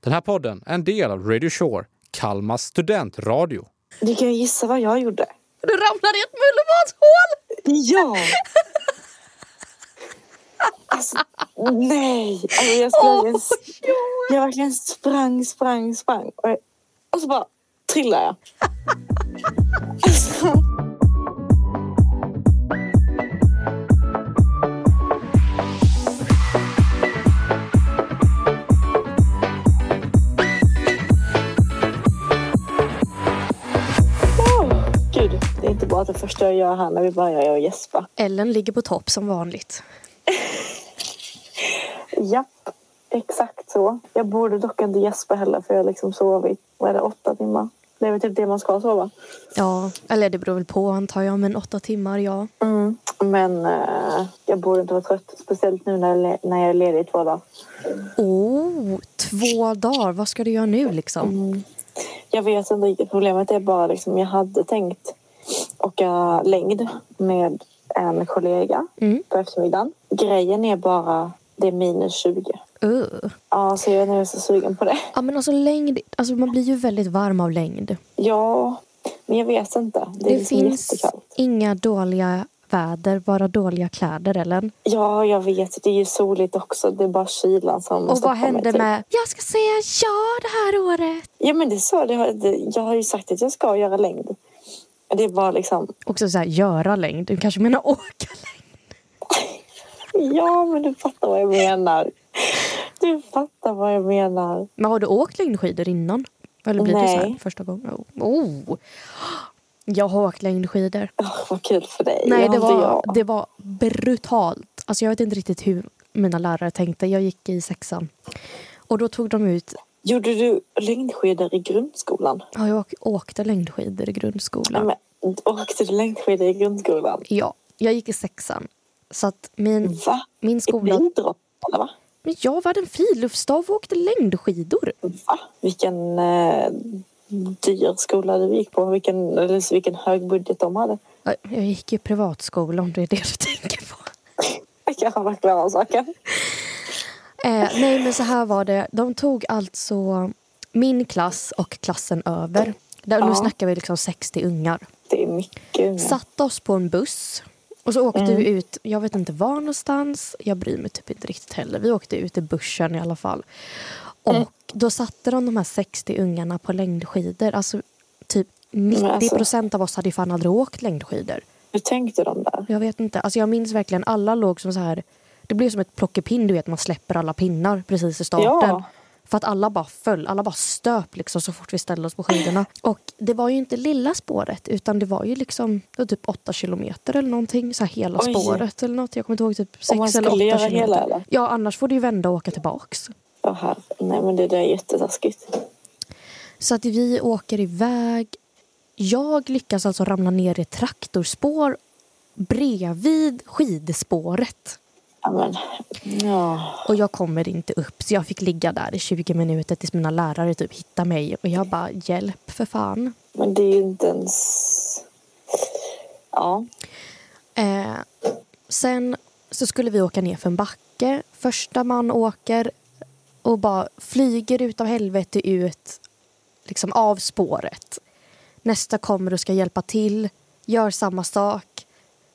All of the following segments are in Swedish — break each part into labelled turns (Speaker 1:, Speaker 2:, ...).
Speaker 1: Den här podden är en del av Radio Shore, Kalmas studentradio.
Speaker 2: Du kan ju gissa vad jag gjorde.
Speaker 3: Du ramlade i ett mullvadshål!
Speaker 2: Ja! Alltså, nej! Alltså, jag, skulle
Speaker 3: Åh,
Speaker 2: verkligen, jag verkligen sprang, sprang, sprang. Och, jag, och så bara trillade jag. Alltså, åh, gud, det är inte bara att det första jag gör här när vi börjar är att gäspa.
Speaker 3: Ellen ligger på topp som vanligt.
Speaker 2: Japp, exakt så. Jag borde dock inte gäspa heller för jag har liksom sovit, vad är det, åtta timmar? Det är väl typ det man ska sova.
Speaker 3: Ja, eller det beror väl på antar jag, men åtta timmar ja.
Speaker 2: Mm. Men eh, jag borde inte vara trött, speciellt nu när jag, le- när jag är ledig i två dagar.
Speaker 3: Oh, två dagar! Vad ska du göra nu liksom?
Speaker 2: Jag vet inte riktigt, problemet är bara liksom jag hade tänkt åka längd med en kollega
Speaker 3: Mm.
Speaker 2: på eftermiddagen. Grejen är bara, det är minus 20.
Speaker 3: Uh.
Speaker 2: Ja, så jag är nu så sugen på det.
Speaker 3: Ja men alltså längd, alltså man blir ju väldigt varm av längd.
Speaker 2: Ja, men jag vet inte. Det,
Speaker 3: Det,
Speaker 2: är liksom
Speaker 3: finns
Speaker 2: jättekallt.
Speaker 3: inga dåliga väder, bara dåliga kläder eller?
Speaker 2: Ja, jag vet. Det är ju soligt också. Det är bara kylan som
Speaker 3: Och
Speaker 2: stoppar
Speaker 3: vad
Speaker 2: mig,
Speaker 3: hände
Speaker 2: typ.
Speaker 3: med Jag ska säga ja det här året!
Speaker 2: Ja, men det är så. Det har, det, jag har ju sagt att jag ska göra längd. Det är bara liksom...
Speaker 3: Också såhär, göra längd. Du kanske menar åka längd?
Speaker 2: Ja, men du fattar vad jag menar. Du fattar vad jag menar.
Speaker 3: Men har du åkt längdskidor innan? Eller blir det så här
Speaker 2: Nej.
Speaker 3: första gången? Oh. Oh. Jag har åkt längdskidor.
Speaker 2: Åh, vad kul för dig.
Speaker 3: Nej,
Speaker 2: Jag
Speaker 3: det
Speaker 2: har inte
Speaker 3: var,
Speaker 2: jag.
Speaker 3: det var brutalt. Alltså, jag vet inte riktigt hur mina lärare tänkte. Jag gick i sexan. Och då tog de ut...
Speaker 2: Gjorde du längdskidor i grundskolan?
Speaker 3: Ja, jag åk- åkte längdskidor i grundskolan.
Speaker 2: Men, åkte du längdskidor i grundskolan?
Speaker 3: Ja, jag gick i sexan. Så att min,
Speaker 2: Va?
Speaker 3: min skola...
Speaker 2: I idrottsskolan, va?
Speaker 3: Men jag var en friluftsstav och åkte längdskidor.
Speaker 2: Va? Vilken eh, dyr skola du gick på. Vilken, eller vilken hög budget de hade.
Speaker 3: Ja, Jag gick i privatskola om det är det du tänker på.
Speaker 2: Jag kanske var klar av saken.
Speaker 3: Eh, nej, men så här var det. De tog alltså min klass och klassen över. Där, Nu
Speaker 2: Ja.
Speaker 3: snackar vi liksom 60 ungar.
Speaker 2: Det är mycket.
Speaker 3: Satt oss på en buss och så åkte vi
Speaker 2: Mm.
Speaker 3: ut, jag vet inte var någonstans, jag bryr mig typ inte riktigt heller. Vi åkte ut i bussen i alla fall.
Speaker 2: Mm.
Speaker 3: Och då satte de de här 60 ungarna på längdskidor. Alltså typ 90
Speaker 2: alltså-
Speaker 3: procent av oss hade ju fan aldrig åkt längdskidor.
Speaker 2: Hur tänkte de där?
Speaker 3: Jag vet inte, alltså jag minns verkligen alla låg som så här. Det blev som ett plockepinn, du vet man släpper alla pinnar precis i starten.
Speaker 2: Ja.
Speaker 3: För att alla bara föll, alla bara stöp liksom så fort vi ställde oss på skidorna. Och det var ju inte lilla spåret utan det var ju liksom det var typ 8 kilometer eller någonting. Så här hela
Speaker 2: Oj.
Speaker 3: spåret eller något. Jag kommer inte ihåg typ
Speaker 2: Om man
Speaker 3: 6 eller 8
Speaker 2: skulle göra
Speaker 3: kilometer.
Speaker 2: hela, eller?
Speaker 3: Ja annars får du ju vända och åka tillbaks.
Speaker 2: Ja, här. Nej, men det där är jättetaskigt.
Speaker 3: Så att vi åker iväg. Jag lyckas alltså ramla ner i ett traktorspår bredvid skidspåret.
Speaker 2: Ja, men, ja.
Speaker 3: Och jag kommer inte upp så jag fick ligga där i 20 minuter tills mina lärare typ hittade mig och jag bara hjälp för fan.
Speaker 2: men det är ju inte ens... Ja.
Speaker 3: Eh, sen så skulle vi åka ner för en backe. Första man åker och bara flyger utav helvete ut liksom av spåret. Nästa kommer och ska hjälpa till, gör samma sak.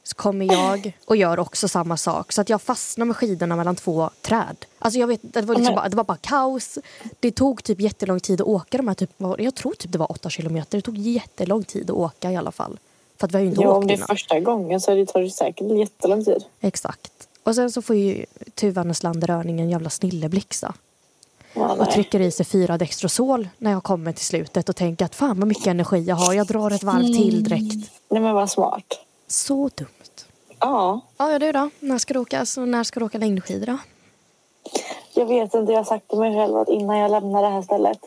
Speaker 3: Så kommer jag och gör också samma sak. Så att jag fastnar med skidorna mellan två träd. Alltså jag vet, det, var liksom
Speaker 2: Men-
Speaker 3: bara, det var bara kaos. Det tog typ jättelång tid att åka de här typ, jag tror typ det var åtta kilometer. Det tog jättelång tid att åka i alla fall. För att vi har ju inte
Speaker 2: ja,
Speaker 3: åkt
Speaker 2: om det är
Speaker 3: innan.
Speaker 2: första gången så det tar det säkert jättelång tid.
Speaker 3: Exakt. Och sen så får ju Tuva Nesland Röning en jävla snilleblixa
Speaker 2: Ja,
Speaker 3: och
Speaker 2: nej.
Speaker 3: trycker i sig fyra Dextrosol när jag kommer till slutet och tänker att fan vad mycket energi jag har, jag drar ett varv till direkt.
Speaker 2: nej, men vad smart.
Speaker 3: Så dumt.
Speaker 2: Ja,
Speaker 3: Ja, ja, du då? När ska du åka, alltså, när ska du åka längdskidor då?
Speaker 2: jag vet inte. Jag har sagt till mig själv att innan jag lämnar det här stället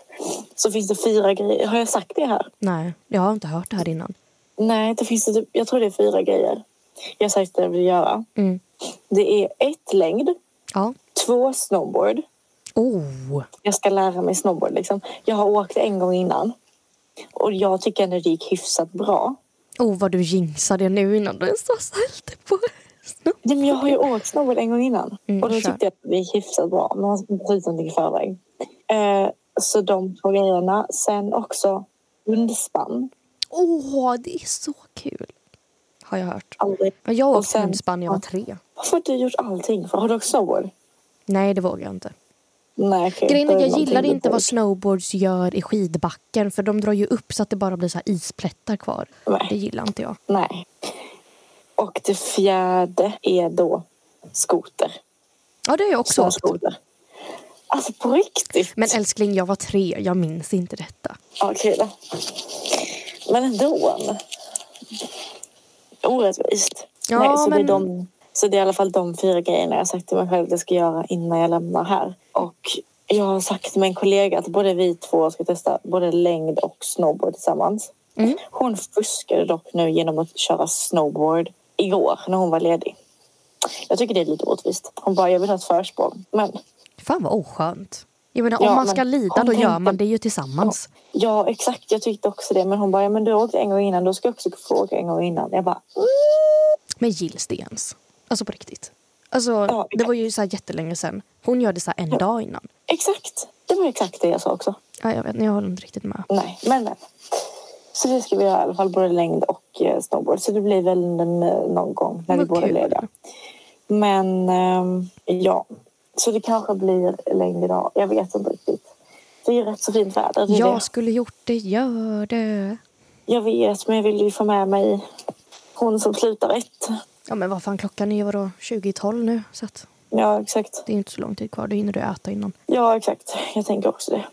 Speaker 2: så finns det fyra grejer. Har jag sagt det här?
Speaker 3: Nej, jag har inte hört det här innan.
Speaker 2: Nej, det finns det, typ- jag tror det är fyra grejer. Jag har sagt att jag vill göra.
Speaker 3: Mm.
Speaker 2: Det är ett längd,
Speaker 3: Ja.
Speaker 2: två snowboard.
Speaker 3: Oh!
Speaker 2: jag ska lära mig snowboard. Liksom. Jag har åkt en gång innan och jag tycker ändå det gick hyfsat bra.
Speaker 3: Oh, vad du jinxade nu innan du ens har ställt på snö.
Speaker 2: Nej, men jag har ju åkt snowboard en gång innan
Speaker 3: Mm,
Speaker 2: och då
Speaker 3: kör.
Speaker 2: tyckte jag att det gick hyfsat bra. Men man ska inte ta ut någonting i förväg. Eh, Så de två grejerna. Sen också hundspann.
Speaker 3: Åh, det är så kul! Har jag hört.
Speaker 2: Aldrig.
Speaker 3: Ja, Jag
Speaker 2: Och
Speaker 3: åkte
Speaker 2: sen-
Speaker 3: hundspann när jag var tre.
Speaker 2: Varför har du gjort allting? Har du också snowboard?
Speaker 3: Nej, det vågar jag inte.
Speaker 2: Nej, okej.
Speaker 3: Grejen är
Speaker 2: Då
Speaker 3: att jag
Speaker 2: någonting
Speaker 3: gillar
Speaker 2: du
Speaker 3: inte
Speaker 2: borde-
Speaker 3: vad snowboards gör i skidbacken för de drar ju upp så att det bara blir så här isplättar kvar.
Speaker 2: Nej.
Speaker 3: Det gillar inte jag.
Speaker 2: Nej. Och det fjärde är då skoter.
Speaker 3: Ja, det har jag också åkt.
Speaker 2: Snöskoter. Alltså på riktigt?
Speaker 3: Men älskling, jag var tre. Jag minns inte detta.
Speaker 2: Okej då. Men ändå. Orättvist.
Speaker 3: Ja,
Speaker 2: Nej, så,
Speaker 3: men-
Speaker 2: det är de, så det är i alla fall de fyra grejerna jag har sagt till mig själv att jag ska göra innan jag lämnar här. Och jag har sagt till min kollega att både vi två ska testa både längd och snowboard tillsammans.
Speaker 3: Mm.
Speaker 2: Hon fuskade dock nu genom att köra snowboard igår när hon var ledig. Jag tycker det är lite orättvist. Hon bara, jag vill ha ett försprång. Men
Speaker 3: Fan vad oskönt. Jag menar, om
Speaker 2: Ja,
Speaker 3: man
Speaker 2: men
Speaker 3: ska lida
Speaker 2: kom
Speaker 3: då
Speaker 2: hem
Speaker 3: gör
Speaker 2: till-
Speaker 3: man det ju tillsammans.
Speaker 2: Ja, exakt. Jag tyckte också det. Men hon bara, ja, men du har åkt en gång innan. Då ska jag också få åka en gång innan. Jag bara, mm.
Speaker 3: Men gills det ens? Alltså på riktigt. Alltså,
Speaker 2: Ja,
Speaker 3: det var ju så här jättelänge sedan. Hon gör det så här en dag innan.
Speaker 2: exakt. Det var exakt det jag sa också.
Speaker 3: Ja, jag vet, jag håller inte riktigt med.
Speaker 2: Nej, men men. Så det ska vi göra i alla fall, både längd och eh, snowboard. Så det blir väl en, eh, någon gång när vi
Speaker 3: Vad
Speaker 2: båda är
Speaker 3: kul.
Speaker 2: lediga. Men ehm, ja, så det kanske blir längd idag. Jag vet inte riktigt. Det är ju rätt så fint väder. Det är det.
Speaker 3: Jag skulle gjort det, gör det.
Speaker 2: jag vet, men jag vill ju få med mig hon som slutar ett.
Speaker 3: Ja men vad fan klockan är ju vadå 20 i 12 nu så att
Speaker 2: Ja, exakt.
Speaker 3: det är ju inte så lång tid kvar. Då hinner du äta innan.
Speaker 2: Ja, exakt. Jag tänker också det.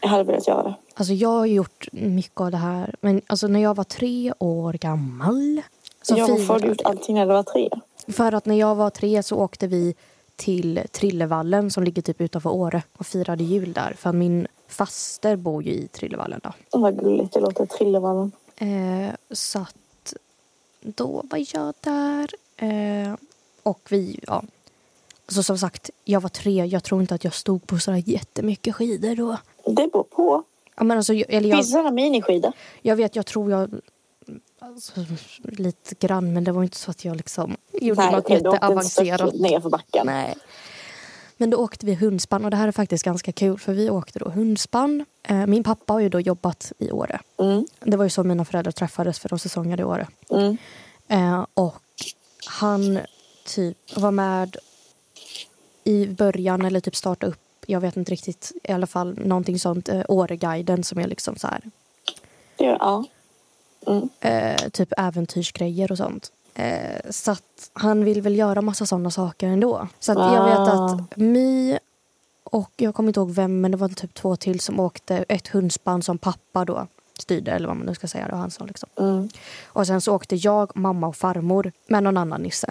Speaker 2: Jag hade velat göra det.
Speaker 3: Alltså jag har ju gjort mycket av det här. Men alltså när jag var tre år gammal. Så
Speaker 2: ja, varför har du
Speaker 3: firade
Speaker 2: gjort allting när du var tre?
Speaker 3: För att när jag var tre så åkte vi till Trillevallen som ligger typ utanför Åre och firade jul där. För min faster bor ju i Trillevallen då.
Speaker 2: Åh, Vad gulligt det låter, Trillevallen.
Speaker 3: Eh, så att då var jag där. Eh, och vi, ja. Så som sagt, jag var tre. Jag tror inte att jag stod på sådär jättemycket skidor då.
Speaker 2: Det beror på.
Speaker 3: Ja, men alltså, jag- eller jag,
Speaker 2: Finns det sådana miniskidor?
Speaker 3: jag vet, jag tror jag... Alltså, lite grann, men det var inte så att jag liksom gjorde något
Speaker 2: okej, du åkte en
Speaker 3: jätteavancerat.
Speaker 2: sträcka ner för backen.
Speaker 3: Nej. Men då åkte vi hundspann och det här är faktiskt ganska kul för vi åkte då hundspann. Eh, min pappa har ju då jobbat i Åre.
Speaker 2: Mm,
Speaker 3: Det var ju så mina föräldrar träffades för de säsongade i Åre.
Speaker 2: mm.
Speaker 3: Eh, och han typ var med i början eller typ starta upp, jag vet inte riktigt, i alla fall någonting sånt, eh, Åreguiden som är liksom så här,
Speaker 2: Det gör, ja. Mm.
Speaker 3: eh, typ äventyrsgrejer och sånt. Eh, så att han vill väl göra massa sådana saker ändå. Så att jag vet
Speaker 2: Wow.
Speaker 3: att My och jag kommer inte ihåg vem men det var typ två till som åkte ett hundspann som pappa då styrde eller vad man nu ska säga då han sa liksom.
Speaker 2: Mm.
Speaker 3: Och sen så åkte jag, mamma och farmor med någon annan nisse.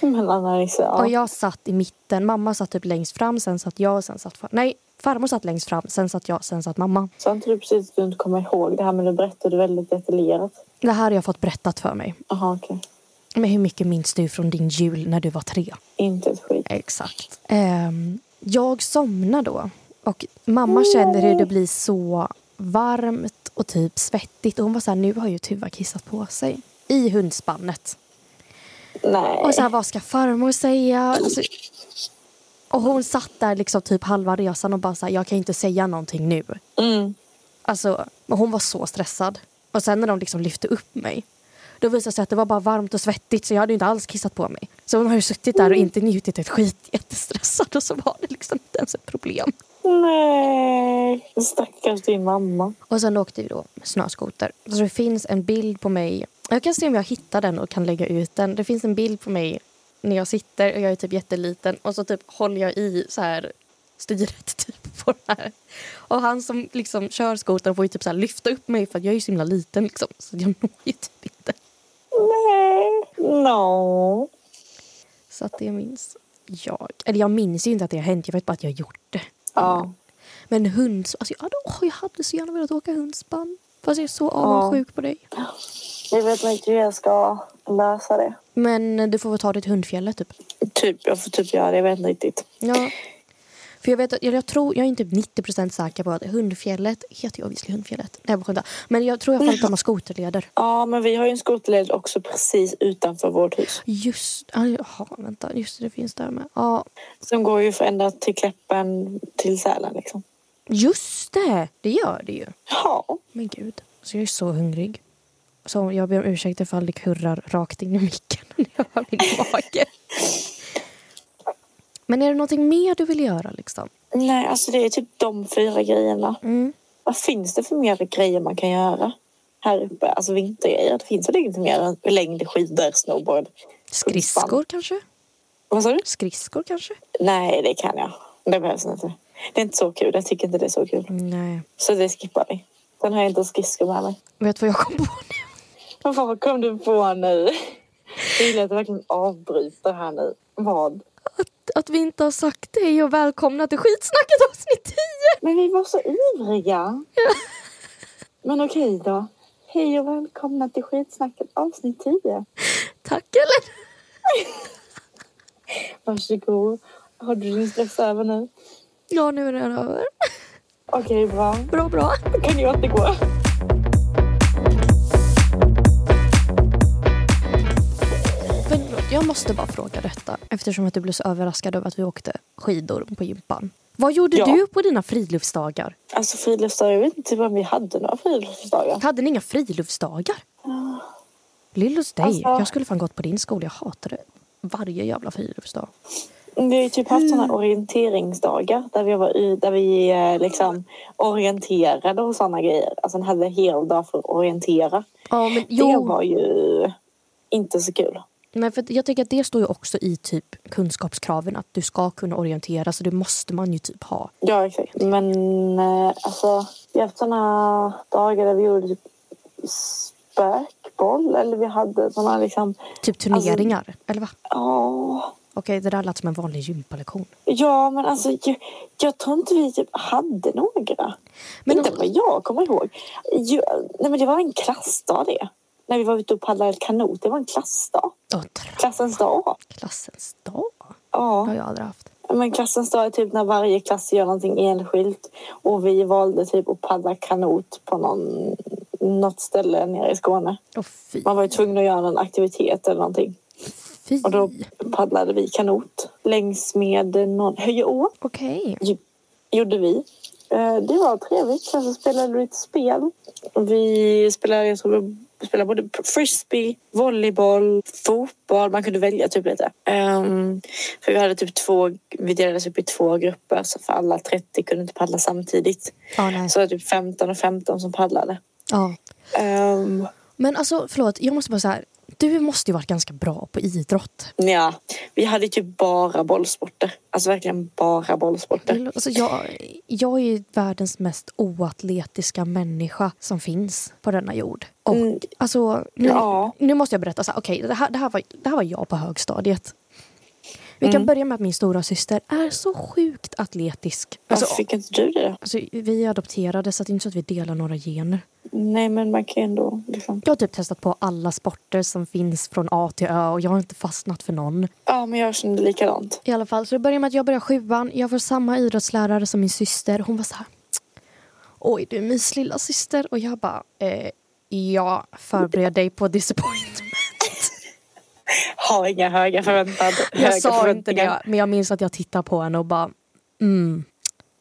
Speaker 2: Men Anna-Lisa, ja.
Speaker 3: Och jag satt i mitten, mamma satt typ längst fram, sen satt jag, sen satt far- Nej, farmor satt längst fram, sen satt jag, sen satt mamma.
Speaker 2: Sa inte du precis att du inte kommer ihåg det här men du berättade väldigt detaljerat?
Speaker 3: Det här har jag fått berättat för mig.
Speaker 2: Jaha, okej.
Speaker 3: Men hur mycket minns du från din jul när du var tre?
Speaker 2: Inte ett skit.
Speaker 3: Exakt. Ehm, jag somnar då. Och mamma känner hur det blir så varmt och typ svettigt. Och hon var så här, nu har ju Tuva kissat på sig. I hundspannet.
Speaker 2: Nej.
Speaker 3: Och så här, vad ska farmor säga? Alltså, och hon satt där liksom typ halva resan och bara så här, jag kan inte säga någonting nu.
Speaker 2: mm.
Speaker 3: Alltså, men hon var så stressad. Och sen när de liksom lyfte upp mig, då visade det sig att det var bara varmt och svettigt så jag hade ju inte alls kissat på mig. Så hon har ju suttit där och inte njutit ett skit, jättestressad och så var det liksom inte ens ett problem.
Speaker 2: Nej. Stackars din mamma.
Speaker 3: Och sen åkte vi då med snöskoter. Så det finns en bild på mig, jag kan se om jag hittar den och kan lägga ut den. Det finns en bild på mig när jag sitter och jag är typ jätteliten och så typ håller jag i så här styret typ på den här. Och han som liksom kör skotern får ju typ så här lyfta upp mig för att jag är ju så himla liten liksom. Så jag når ju typ inte.
Speaker 2: Nej. No.
Speaker 3: Så att det minns jag. Eller jag minns ju inte att det har hänt, jag vet bara att jag har gjort det.
Speaker 2: Ja.
Speaker 3: Men hunds... Alltså, jag, hade, åh, jag hade så gärna velat åka hundspann. Fast jag är så avundsjuk på dig.
Speaker 2: Jag vet inte hur jag ska lösa det.
Speaker 3: Men du får väl ta dig till Hundfjället typ.
Speaker 2: Typ, jag får typ göra det. Jag vet inte riktigt.
Speaker 3: Ja. För jag vet att, eller jag tror, jag är inte 90% säker på att Hundfjället heter ju obviously Hundfjället. Nej, jag bara skämtar. Men jag tror i alla fall att de har skoterleder.
Speaker 2: Ja, men vi har ju en skoterled också precis utanför vårt hus.
Speaker 3: Just, ah, jaha, vänta, just det, det finns där med. Ja,
Speaker 2: Som går ju för ända till Kläppen, till Sälen liksom.
Speaker 3: Just det! Det gör det ju.
Speaker 2: Ja.
Speaker 3: Men gud. Så jag är så hungrig. Så jag ber om ursäkt ifall det kurrar rakt in i micken när jag hör min mage. Men är det någonting mer du vill göra liksom?
Speaker 2: Nej, alltså det är typ de fyra grejerna.
Speaker 3: Mm.
Speaker 2: Vad finns det för mer grejer man kan göra här uppe? Alltså vintergrejer. Det finns väl inget mer än längd, skidor, snowboard.
Speaker 3: Skridskor kanske?
Speaker 2: Vad sa du?
Speaker 3: Skridskor kanske?
Speaker 2: Nej, det kan jag. Det behövs inte. Det är inte så kul. Jag tycker inte det är så kul.
Speaker 3: Nej.
Speaker 2: Så det skippar vi. Den har jag inte skridskor med mig.
Speaker 3: Vet du vad jag kom på nu?
Speaker 2: Men Vad kom du på nu? Jag gillar att du verkligen avbryter här nu. Vad?
Speaker 3: Att, att vi inte har sagt hej och välkomna till skitsnacket avsnitt 10!
Speaker 2: Men vi var så ivriga. Men okej då. Hej och välkomna till skitsnacket avsnitt 10.
Speaker 3: Tack eller?
Speaker 2: Varsågod. Har du din stress över nu?
Speaker 3: Ja, nu är den över.
Speaker 2: Okej, bra.
Speaker 3: Bra, bra.
Speaker 2: Då kan ni återgå.
Speaker 3: Men förlåt, jag måste bara fråga detta eftersom att du blev så överraskad över att vi åkte skidor på gympan. Vad gjorde
Speaker 2: Ja.
Speaker 3: du på dina friluftsdagar?
Speaker 2: Alltså friluftsdagar, jag vet inte typ om vi hade några friluftsdagar.
Speaker 3: Hade ni inga friluftsdagar? Lill hos dig.
Speaker 2: Alltså-
Speaker 3: Jag skulle fan gått på din skola. Jag hatar det. Varje jävla friluftsdag.
Speaker 2: Vi har ju typ haft sådana orienteringsdagar där vi, var, i- där vi eh, liksom orienterade och sådana grejer. Alltså hade en hel dag för att orientera.
Speaker 3: Ja, men
Speaker 2: Det
Speaker 3: jo.
Speaker 2: var ju inte så kul.
Speaker 3: Nej, för att jag tänker att det står ju också i typ kunskapskraven att du ska kunna orientera så det måste man ju typ ha.
Speaker 2: Ja, exakt. Men eh, alltså, vi har haft sådana dagar där vi gjorde typ spökboll eller vi hade sådana liksom...
Speaker 3: Typ turneringar. Eller va?
Speaker 2: ja
Speaker 3: Okej, det där lät som en vanlig gympalektion.
Speaker 2: Ja, men alltså jag, jag tror inte vi typ hade några.
Speaker 3: Men-
Speaker 2: inte vad jag kommer ihåg. Jag, nej, men det var en klassdag det. När vi var ute och paddlade kanot. Det var en klassdag.
Speaker 3: Åh, tra-
Speaker 2: Klassens dag.
Speaker 3: klassens dag. Det har
Speaker 2: Ja,
Speaker 3: jag aldrig haft.
Speaker 2: men klassens dag är typ när varje klass gör någonting enskilt. Och vi valde typ att paddla kanot på någon, något ställe nere i Skåne.
Speaker 3: Åh, fy.
Speaker 2: Man var ju tvungen att göra någon aktivitet eller någonting.
Speaker 3: fy.
Speaker 2: Och då
Speaker 3: Okej.
Speaker 2: paddlade vi kanot längs med någon Höjeå. gjorde vi. Eh, Det var trevligt. Sen så spelade vi lite spel. Vi spelade, jag tror vi spelade både frisbee, volleyboll, fotboll. Man kunde välja typ lite. Ehm, för vi hade typ två, vi delades upp i två grupper så för alla 30 kunde inte paddla samtidigt.
Speaker 3: Ja, nej.
Speaker 2: Så det var typ 15 och 15 som paddlade.
Speaker 3: Ja.
Speaker 2: Um,
Speaker 3: Men alltså, förlåt. Jag måste bara säga. Du måste ju varit ganska bra på idrott.
Speaker 2: ja, vi hade typ bara bollsporter. Alltså verkligen bara bollsporter.
Speaker 3: Alltså, jag, jag är ju världens mest oatletiska människa som finns på denna jord. Och
Speaker 2: Mm.
Speaker 3: alltså, nu,
Speaker 2: Ja.
Speaker 3: nu måste jag berätta. Så här, okej, det, här, det, här var, det här var jag på högstadiet. Vi
Speaker 2: Mm.
Speaker 3: kan börja med att min stora syster är så sjukt atletisk.
Speaker 2: Varför
Speaker 3: Alltså,
Speaker 2: fick inte du det?
Speaker 3: alltså, vi är adopterade så att det är inte så att vi delar några gener.
Speaker 2: Nej, men man kan ju ändå liksom...
Speaker 3: Jag har typ testat på alla sporter som finns från A till Ö och jag har inte fastnat för någon.
Speaker 2: Ja, men jag kände likadant.
Speaker 3: I alla fall, så det börjar med att jag börjar sjuan. Jag får samma idrottslärare som min syster. Hon var så här. Oj, du är mys lilla syster. Och jag bara. Eh, ja, förbered dig på disappointment.
Speaker 2: har inga höga förväntan. höga
Speaker 3: Jag sa inte
Speaker 2: förväntningar.
Speaker 3: det, men jag minns att jag tittade på henne och bara. Mm,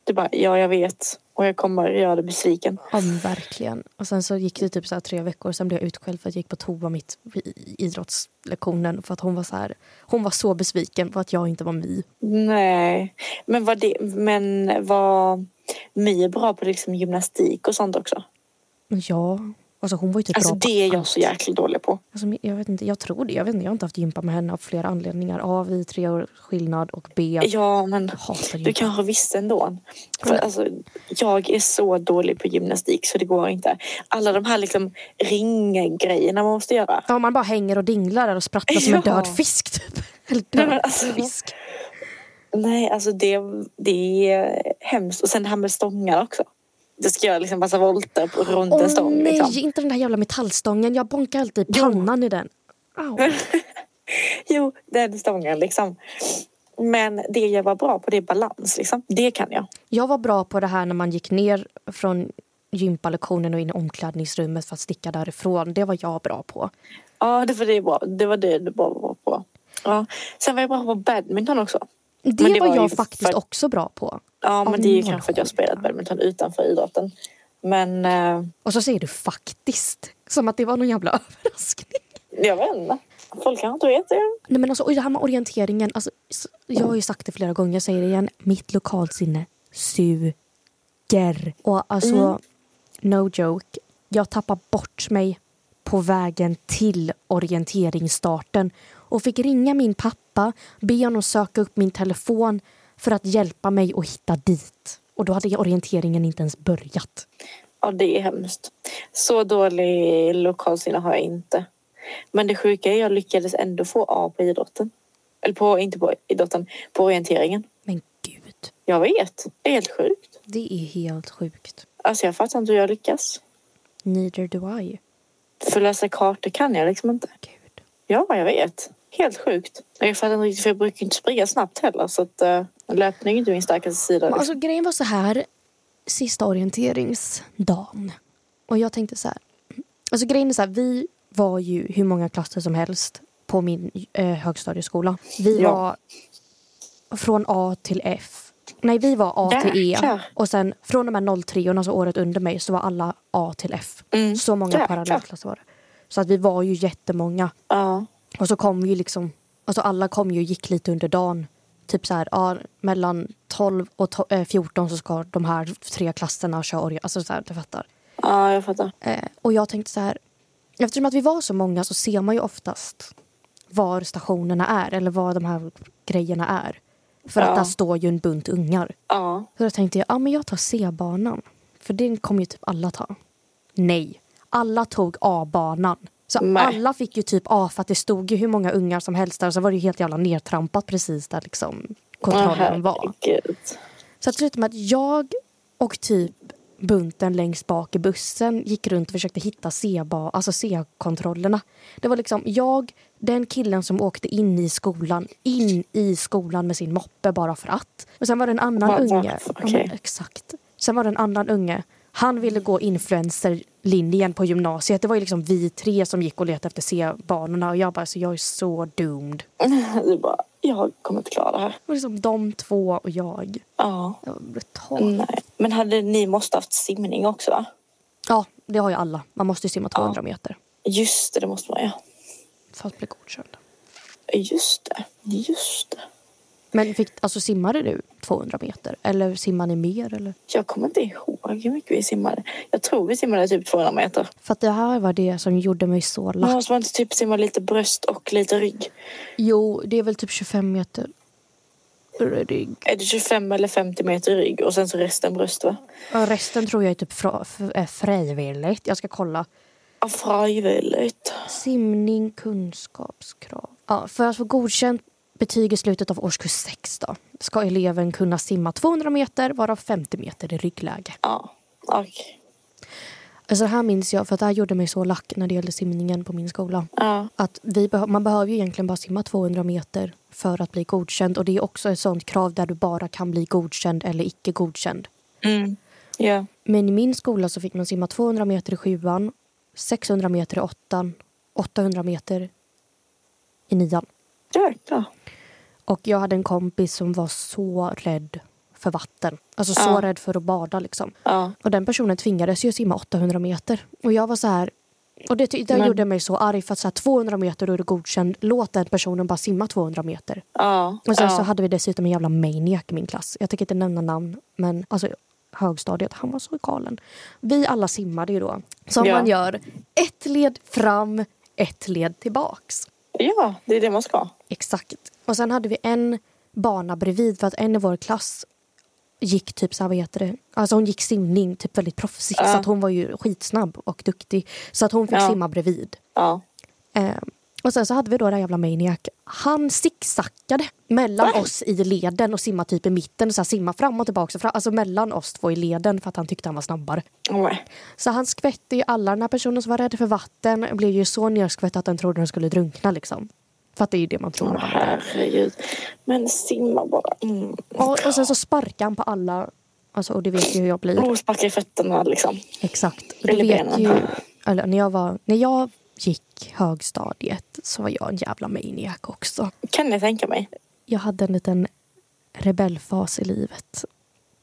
Speaker 2: Du bara, ja jag vet. Och jag kommer göra dig besviken.
Speaker 3: ja, men verkligen. Och sen så gick det typ så här tre veckor. Sen blev jag utskälld för att jag gick på toa mitt i idrottslektionen. För att hon var så här. Hon var så besviken på att jag inte var my.
Speaker 2: Nej. Men var, det, men var My bra på liksom gymnastik och sånt också?
Speaker 3: Ja, alltså hon var ju typ
Speaker 2: Alltså
Speaker 3: bra på
Speaker 2: det är jag
Speaker 3: allt.
Speaker 2: så jäkla dålig på.
Speaker 3: Alltså, jag, vet inte, jag tror det. Jag, vet inte, jag har inte haft gympa med henne av flera anledningar. A, vi är tre år skillnad och B, jag
Speaker 2: Ja men
Speaker 3: hatar
Speaker 2: du
Speaker 3: gympa.
Speaker 2: kanske visste ändå. För alltså, jag är så dålig på gymnastik så det går inte. Alla de här liksom ringgrejerna man måste göra.
Speaker 3: Ja, man bara hänger och dinglar där och sprattlar som en
Speaker 2: Ja.
Speaker 3: död fisk. Typ. Eller
Speaker 2: Nej,
Speaker 3: död
Speaker 2: men alltså-
Speaker 3: fisk.
Speaker 2: Nej, alltså det, det är hemskt. Och sen det här med stångar också. Du ska göra liksom massa volter på- runt
Speaker 3: Åh
Speaker 2: en stång.
Speaker 3: nej,
Speaker 2: Liksom.
Speaker 3: inte den där jävla metallstången. Jag bonkar alltid i pannan i den. Au.
Speaker 2: Jo, den stången liksom. Men det jag var bra på det är balans liksom. Det kan jag.
Speaker 3: Jag var bra på det här när man gick ner från gympalektionen och in i omklädningsrummet för att sticka därifrån. Det var jag bra på.
Speaker 2: Ja, det var det är bra. Det var det du var bra på. Ja. Sen var jag bra på badminton också.
Speaker 3: Det
Speaker 2: Men det
Speaker 3: var,
Speaker 2: var
Speaker 3: jag
Speaker 2: ju
Speaker 3: faktiskt
Speaker 2: för-
Speaker 3: också bra på.
Speaker 2: Ja,
Speaker 3: Av
Speaker 2: men det är ju
Speaker 3: någon
Speaker 2: kanske att jag har
Speaker 3: skillnad.
Speaker 2: spelat badminton utanför idrotten. Men eh,
Speaker 3: Och så säger du faktiskt. Som att det var någon jävla överraskning.
Speaker 2: jag vet inte. Folk kanske inte vet det.
Speaker 3: Nej men alltså, och det här med orienteringen. Alltså, s- jag har ju sagt det flera gånger, jag säger det igen. Mitt lokalsinne suger. Och alltså, no joke. Jag tappar bort mig på vägen till orienteringsstarten och fick ringa min pappa, be honom söka upp min telefon för att hjälpa mig att hitta dit. Och då hade orienteringen inte ens börjat.
Speaker 2: Ja, det är hemskt. Så dålig lokalsinne har jag inte. Men det sjuka är att jag lyckades ändå få A på idrotten. Eller på, inte på idrotten, på orienteringen.
Speaker 3: Men gud,
Speaker 2: Jag vet, det är helt sjukt.
Speaker 3: det är helt sjukt.
Speaker 2: Alltså jag fattar inte hur jag lyckas.
Speaker 3: Neither do I.
Speaker 2: För läsa kartor kan jag liksom inte.
Speaker 3: Gud.
Speaker 2: Ja, jag vet. Helt sjukt. Men Jag fattar inte riktigt för jag brukar inte springa snabbt heller så att eh, löpning är inte min starkaste sida.
Speaker 3: Men
Speaker 2: Liksom.
Speaker 3: alltså, grejen var så här, sista orienteringsdagen. Och jag tänkte så här. Alltså grejen är så här, vi var ju hur många klasser som helst på min eh, högstadieskola. Vi
Speaker 2: Ja.
Speaker 3: var från A till F. Nej, vi var A till E.
Speaker 2: Jäklar.
Speaker 3: Och sen från de här 03, alltså året under mig, så var alla A till F.
Speaker 2: Mm.
Speaker 3: Så många
Speaker 2: Jäklar.
Speaker 3: parallellklasser var det. Så att vi var ju jättemånga.
Speaker 2: Ja.
Speaker 3: Och så kom ju liksom, alltså alla kom ju och gick lite under dagen. Typ så här, ja, mellan 12 och to- eh, 14 så ska de här tre klasserna köra orga. Alltså så här, du fattar.
Speaker 2: ja, jag fattar.
Speaker 3: Eh, och jag tänkte så här, eftersom att vi var så många så ser man ju oftast var stationerna är eller var de här grejerna är. För
Speaker 2: Ja.
Speaker 3: att där står ju en bunt ungar.
Speaker 2: Ja.
Speaker 3: Så då tänkte jag, ja men jag tar C-banan. För den kommer ju typ alla ta. Nej, alla tog A-banan. Så
Speaker 2: Nej.
Speaker 3: alla fick ju typ A för att det stod ju hur många ungar som helst där. Så var det ju helt jävla nertrampat precis där liksom kontrollen var.
Speaker 2: herregud.
Speaker 3: Så att sluta med att jag och typ bunten längst bak i bussen gick runt och försökte hitta C-ba- alltså C-kontrollerna. Det var liksom jag, den killen som åkte in i skolan, in i skolan med sin moppe bara för att. Och sen var det en annan
Speaker 2: Va- va-
Speaker 3: unge.
Speaker 2: okej.
Speaker 3: Ja, men Exakt. Sen var det en annan unge. Han ville gå influencerlinjen på gymnasiet. Det var ju liksom vi tre som gick och letade efter C-banorna och jag bara, så jag är så doomed.
Speaker 2: Du bara, jag kommer inte klara det här.
Speaker 3: Det var liksom de två och jag.
Speaker 2: Ja.
Speaker 3: Det var brutalt.
Speaker 2: Nej. Men hade ni måste haft simning också va?
Speaker 3: Ja, det har ju alla. Man måste ju simma 200 meter
Speaker 2: Just det, det måste man ju.
Speaker 3: för att bli godkänd.
Speaker 2: Just det, just det.
Speaker 3: Men fick, alltså, simmade du 200 meter? Eller simmar ni mer? Eller?
Speaker 2: Jag kommer inte ihåg hur mycket vi simmade. Jag tror vi simmade typ 200 meter.
Speaker 3: För att det här var det som gjorde mig så
Speaker 2: Men
Speaker 3: lack.
Speaker 2: måste man inte typ simma lite bröst och lite rygg?
Speaker 3: Jo, det är väl typ 25 meter. Rygg.
Speaker 2: Är det 25 eller 50 meter rygg och sen så resten bröst va?
Speaker 3: Ja, Resten tror jag är typ fra, f- eh, frivilligt. Jag ska kolla.
Speaker 2: Ja, frivilligt.
Speaker 3: Simning, kunskapskrav. Ja, för att få godkänt betyg i slutet av årskurs 6 då, ska eleven kunna simma 200 meter varav 50 meter i ryggläge.
Speaker 2: Ja, okej.
Speaker 3: Alltså det här minns jag, för att det här gjorde mig så lack när det gällde simningen på min skola.
Speaker 2: Ja,
Speaker 3: Att vi behö- man behöver ju egentligen bara simma 200 meter för att bli godkänd. Och det är också ett sånt krav där du bara kan bli godkänd eller icke godkänd.
Speaker 2: mm. ja.
Speaker 3: Men i min skola så fick man simma 200 meter i sjuan, 600 meter i åttan, 800 meter i nian.
Speaker 2: Jäklar.
Speaker 3: Och jag hade en kompis som var så rädd för vatten. Alltså så
Speaker 2: Ja.
Speaker 3: rädd för att bada liksom.
Speaker 2: Ja,
Speaker 3: Och den personen tvingades ju simma 800 meter. Och jag var så här... Och det, ty- det
Speaker 2: Men-
Speaker 3: gjorde mig så arg för att så här, 200 meter då är du godkänd. Låt den personen bara simma 200 meter.
Speaker 2: ja.
Speaker 3: Och sen
Speaker 2: ja.
Speaker 3: så hade vi dessutom en jävla maniac i min klass. Jag tänker inte nämna namn, men alltså högstadiet, han var så galen. Vi alla simmade ju då, som
Speaker 2: Ja.
Speaker 3: man gör. Ett led fram, ett led tillbaks.
Speaker 2: ja, det är det man ska.
Speaker 3: Exakt. Och sen hade vi en bana bredvid för att en i vår klass gick typ så här, vad heter det? Alltså hon gick simning typ väldigt proffsigt
Speaker 2: Ja.
Speaker 3: så att hon var ju skitsnabb och duktig. Så att hon fick
Speaker 2: Ja.
Speaker 3: simma bredvid.
Speaker 2: Ja.
Speaker 3: Eh, och sen så hade vi då den här jävla maniac. Han sicksackade mellan oss i leden och simmade typ i mitten. Så här, simma fram och tillbaka. och Fram, alltså mellan oss två i leden för att han tyckte han var snabbare.
Speaker 2: Nej.
Speaker 3: Så han skvätte ju alla. Den här personen som var rädd för vatten blev ju så nerskvätt att den trodde den skulle drunkna liksom. För att det är ju det man tror. när
Speaker 2: Åh,
Speaker 3: man
Speaker 2: herregud. Men simma bara. Mm.
Speaker 3: Och, och sen så sparkar han på alla. Alltså, och det vet ju hur jag blir.
Speaker 2: Och sparka i fötterna liksom.
Speaker 3: Exakt. Och det
Speaker 2: Eller
Speaker 3: vet
Speaker 2: benen.
Speaker 3: ju, eller, när, jag var, när jag gick högstadiet så var jag en jävla maniac också.
Speaker 2: Kan jag tänka mig.
Speaker 3: Jag hade en liten rebellfas i livet.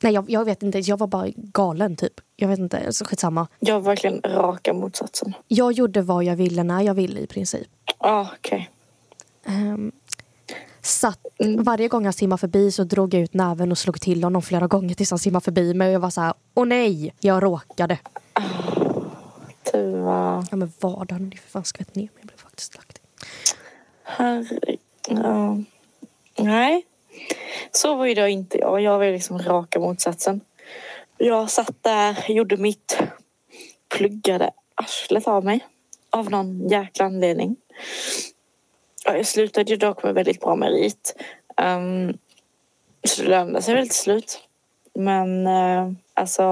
Speaker 3: Nej, jag, jag vet inte. Jag var bara galen, typ. Jag vet inte. Så skitsamma.
Speaker 2: Jag var verkligen raka motsatsen.
Speaker 3: Jag gjorde vad jag ville när jag ville, i princip.
Speaker 2: Ja, okej.
Speaker 3: Ehm, satt,
Speaker 2: Mm.
Speaker 3: varje gång han simmade förbi så drog jag ut näven och slog till honom flera gånger tills han simmade förbi mig. Och jag var så här, åh nej, jag råkade.
Speaker 2: Tuva.
Speaker 3: Ja men vardagen hade ju för fan skvätt ner mig. Jag blev faktiskt lagt.
Speaker 2: Herregud. Ja. Nej, så var ju då inte jag. Jag var ju liksom raka motsatsen. Jag satt där, gjorde mitt, pluggade arslet av mig av någon jäkla anledning. Ja, Jag slutade ju dock med väldigt bra merit. Ehm, så det lönade sig väl till slut. Men eh, alltså,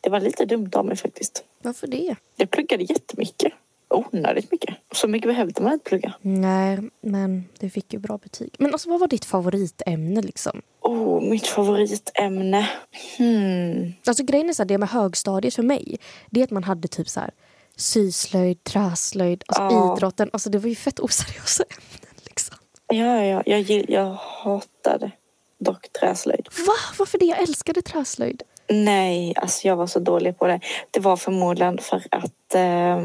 Speaker 2: det var lite dumt av mig faktiskt.
Speaker 3: Varför det?
Speaker 2: Jag pluggade jättemycket. Onödigt mycket. Så mycket behövde man inte plugga.
Speaker 3: Nej, men du fick ju bra betyg. Men alltså vad var ditt favoritämne liksom?
Speaker 2: Oh, mitt favoritämne. Hmm.
Speaker 3: Alltså grejen är så här, det med högstadiet för mig, det är att man hade typ så här syslöjd, träslöjd, alltså
Speaker 2: Ja.
Speaker 3: idrotten. Alltså det var ju fett oseriösa ämnen liksom.
Speaker 2: Ja, ja, jag, gill, jag hatade dock träslöjd.
Speaker 3: Va? Varför det? Jag älskade träslöjd.
Speaker 2: Nej, alltså jag var så dålig på det. Det var förmodligen för att eh,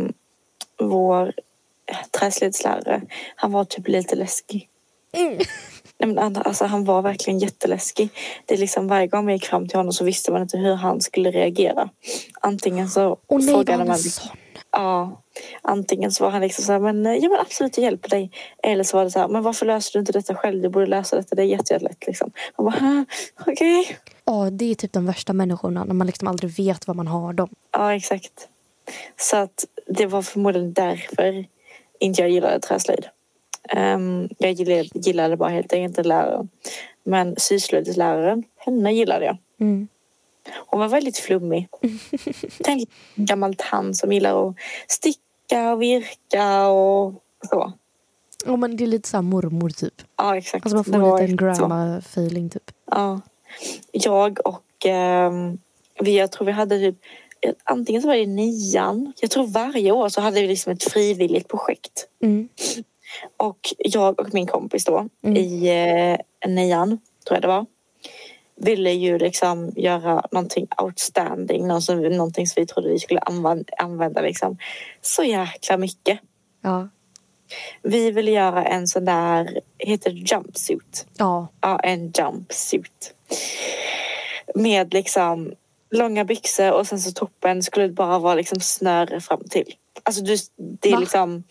Speaker 2: vår träslöjdslärare, han var typ lite läskig.
Speaker 3: Mm.
Speaker 2: Nej, men han- alltså, han var verkligen jätteläskig. Det är liksom varje gång man gick fram till honom så visste man inte hur han skulle reagera. Antingen så
Speaker 3: Och nej, var
Speaker 2: frågade
Speaker 3: han
Speaker 2: man... liksom-
Speaker 3: en sån?
Speaker 2: Ja, antingen så var han liksom så här, men eh, jag vill absolut jag hjälper dig. Eller så var det så här, men varför löser du inte detta själv? Du borde lösa detta, det är jätte- jättelätt liksom. Man bara, "Hä? okej.
Speaker 3: Ja, det är typ de värsta människorna när man liksom aldrig vet vad man har dem.
Speaker 2: Ja, exakt. Så att det var förmodligen därför inte jag gillade träslöjd. Ehm, jag gillade, gillade bara helt enkelt inte läraren. Men syslöjdsläraren, henne gillade jag.
Speaker 3: Mm.
Speaker 2: Hon var väldigt flummig. Tänk en gammal tant som gillar att sticka och virka och så.
Speaker 3: Ja, men det är lite så här mormor typ.
Speaker 2: Ja, exakt.
Speaker 3: Alltså man
Speaker 2: Det
Speaker 3: får
Speaker 2: var
Speaker 3: en liten
Speaker 2: exakt så.
Speaker 3: grandma-feeling typ.
Speaker 2: Ja. Jag och ehm, vi, jag tror vi hade typ Antingen så var det i nian. Jag tror varje år så hade vi liksom ett frivilligt projekt.
Speaker 3: Mm.
Speaker 2: Och jag och min kompis då
Speaker 3: Mm.
Speaker 2: i eh, nian, tror jag det var, ville ju liksom göra någonting outstanding. någon som- Någonting som vi trodde vi skulle använda, använda liksom så jäkla mycket.
Speaker 3: Ja.
Speaker 2: Vi ville göra en sån där, heter det jumpsuit?
Speaker 3: Ja.
Speaker 2: Ja, en jumpsuit. Med liksom långa byxor och sen så toppen skulle det bara vara liksom snöre fram till. Alltså du, det är
Speaker 3: Va?
Speaker 2: liksom...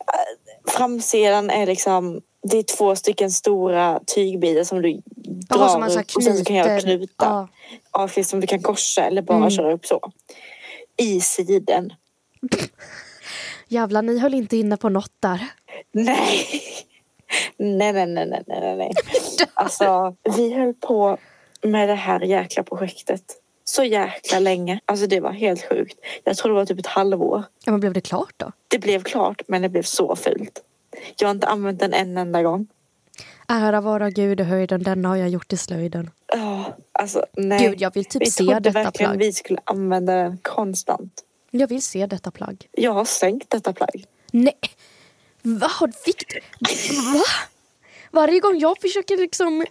Speaker 2: äh, Framsidan är liksom... Det är två stycken stora tygbitar som du
Speaker 3: Ja,
Speaker 2: drar
Speaker 3: som man så här
Speaker 2: upp och sen så kan jag
Speaker 3: knyter.
Speaker 2: knuta.
Speaker 3: Ja.
Speaker 2: Ja, precis, som du kan korsa eller bara
Speaker 3: Mm.
Speaker 2: köra upp så. I siden.
Speaker 3: Jävlar, ni höll inte inne på något där.
Speaker 2: Nej. Nej, nej, nej, nej, nej, nej, nej. Alltså, vi höll på med det här jäkla projektet så jäkla länge. Alltså det var helt sjukt. Jag tror det var typ ett halvår.
Speaker 3: Ja, men blev det klart då?
Speaker 2: Det blev klart, men det blev så fult. Jag har inte använt den en enda gång.
Speaker 3: Ära vara Gud i höjden, denna har jag gjort i slöjden.
Speaker 2: Oh, alltså, nej.
Speaker 3: Gud, jag vill typ
Speaker 2: vi
Speaker 3: se
Speaker 2: trodde
Speaker 3: detta
Speaker 2: verkligen
Speaker 3: plagg.
Speaker 2: vi skulle använda den konstant.
Speaker 3: Jag vill se detta plagg.
Speaker 2: Jag har sänkt detta plagg.
Speaker 3: Nej! Vad har vikt? Va? Varje gång jag försöker liksom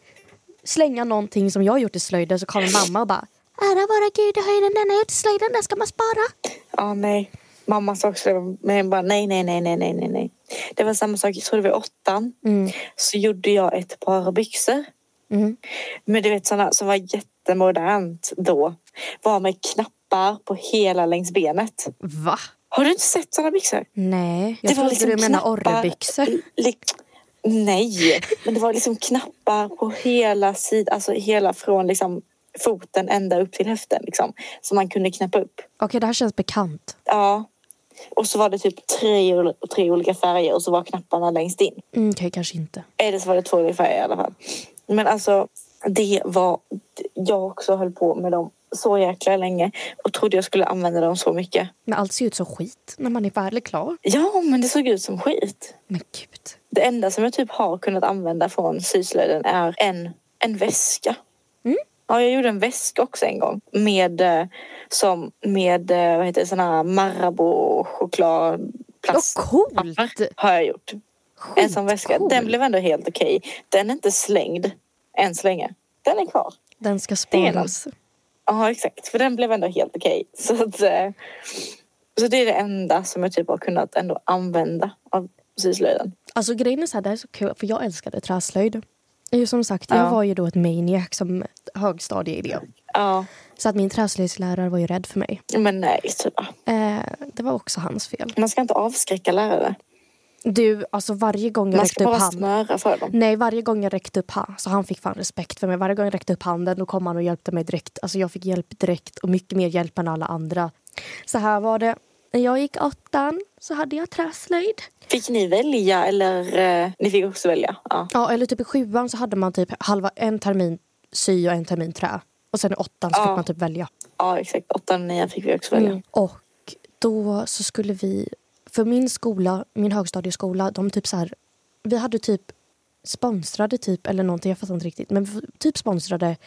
Speaker 3: slänga någonting som jag har gjort i slöjden så kommer mamma och bara Ära vara Gud i höjden, denna har jag gjort i slöjden, den ska man spara.
Speaker 2: Ja, nej. Mamma sa också det, men bara nej, nej, nej, nej, nej, nej, nej. Det var samma sak, jag tror det var i åttan.
Speaker 3: Mm.
Speaker 2: Så gjorde jag ett par byxor.
Speaker 3: Mm.
Speaker 2: Men du vet sådana som var jättemodernt då. Var med knappar på hela längs benet.
Speaker 3: Va?
Speaker 2: Har du inte sett sådana byxor?
Speaker 3: Nej, jag
Speaker 2: Det var
Speaker 3: trodde
Speaker 2: liksom
Speaker 3: du menade
Speaker 2: knappar-
Speaker 3: orrebyxor.
Speaker 2: Li- Nej, men det var liksom knappar på hela sidan, alltså hela från liksom foten ända upp till höften liksom. Som man kunde knäppa upp.
Speaker 3: Okej, det här känns bekant.
Speaker 2: Ja. Och så var det typ tre, ol- tre olika färger och så var knapparna längst in.
Speaker 3: Mm, Okej, kanske inte.
Speaker 2: Eller så var det två olika färger i alla fall. Men alltså, det var... Jag också höll på med dem så jäkla länge och trodde jag skulle använda dem så mycket.
Speaker 3: Men allt ser ut som skit när man är väl klar.
Speaker 2: Ja, men det såg ut som skit.
Speaker 3: Men gud.
Speaker 2: Det enda som jag typ har kunnat använda från syslöjden är en, en väska.
Speaker 3: Mm.
Speaker 2: Ja, jag gjorde en väska också en gång med, eh, som, med eh, vad heter det, sån här Marabou
Speaker 3: Ja,
Speaker 2: chokladplast.
Speaker 3: coolt!
Speaker 2: Har jag gjort. En sån väska.
Speaker 3: Skitcool.
Speaker 2: Den blev ändå helt okej. Den är inte slängd. än så länge. Den är kvar.
Speaker 3: Den ska spelas.
Speaker 2: Ja, exakt. För den blev ändå helt okej. Så, att, eh, så det är det enda som jag typ har kunnat ändå använda av syslöjden.
Speaker 3: Alltså grejen är så här, det här är så kul för jag älskade träslöjd. Ju Som sagt, jag
Speaker 2: Ja.
Speaker 3: var ju då ett maniac som högstadieelev.
Speaker 2: Ja,
Speaker 3: Så att min träslöjdslärare var ju rädd för mig.
Speaker 2: men nej. Typ.
Speaker 3: Eh, det var också hans fel.
Speaker 2: Man ska inte avskräcka lärare.
Speaker 3: Du, alltså varje gång jag
Speaker 2: Man ska
Speaker 3: räckte upp
Speaker 2: bara
Speaker 3: handen.
Speaker 2: smöra för dem.
Speaker 3: Nej, varje gång jag räckte upp handen, så han fick fan respekt för mig. Varje gång jag räckte upp handen då kom han och hjälpte mig direkt. Alltså jag fick hjälp direkt och mycket mer hjälp än alla andra. Så här var det. När jag gick åttan så hade jag träslöjd.
Speaker 2: Fick ni välja eller? Eh, ni fick också välja. Ja.
Speaker 3: Ja, eller typ i sjuan så hade man typ halva, en termin sy och en termin trä. Och sen i åttan så
Speaker 2: Ja.
Speaker 3: fick man typ välja. Mm.
Speaker 2: ja, exakt. Åttan och nian fick vi också välja.
Speaker 3: Och då så skulle vi, för min skola, min högstadieskola, de typ så här, vi hade typ sponsrade typ eller någonting, jag fattar inte riktigt, men vi typ sponsrade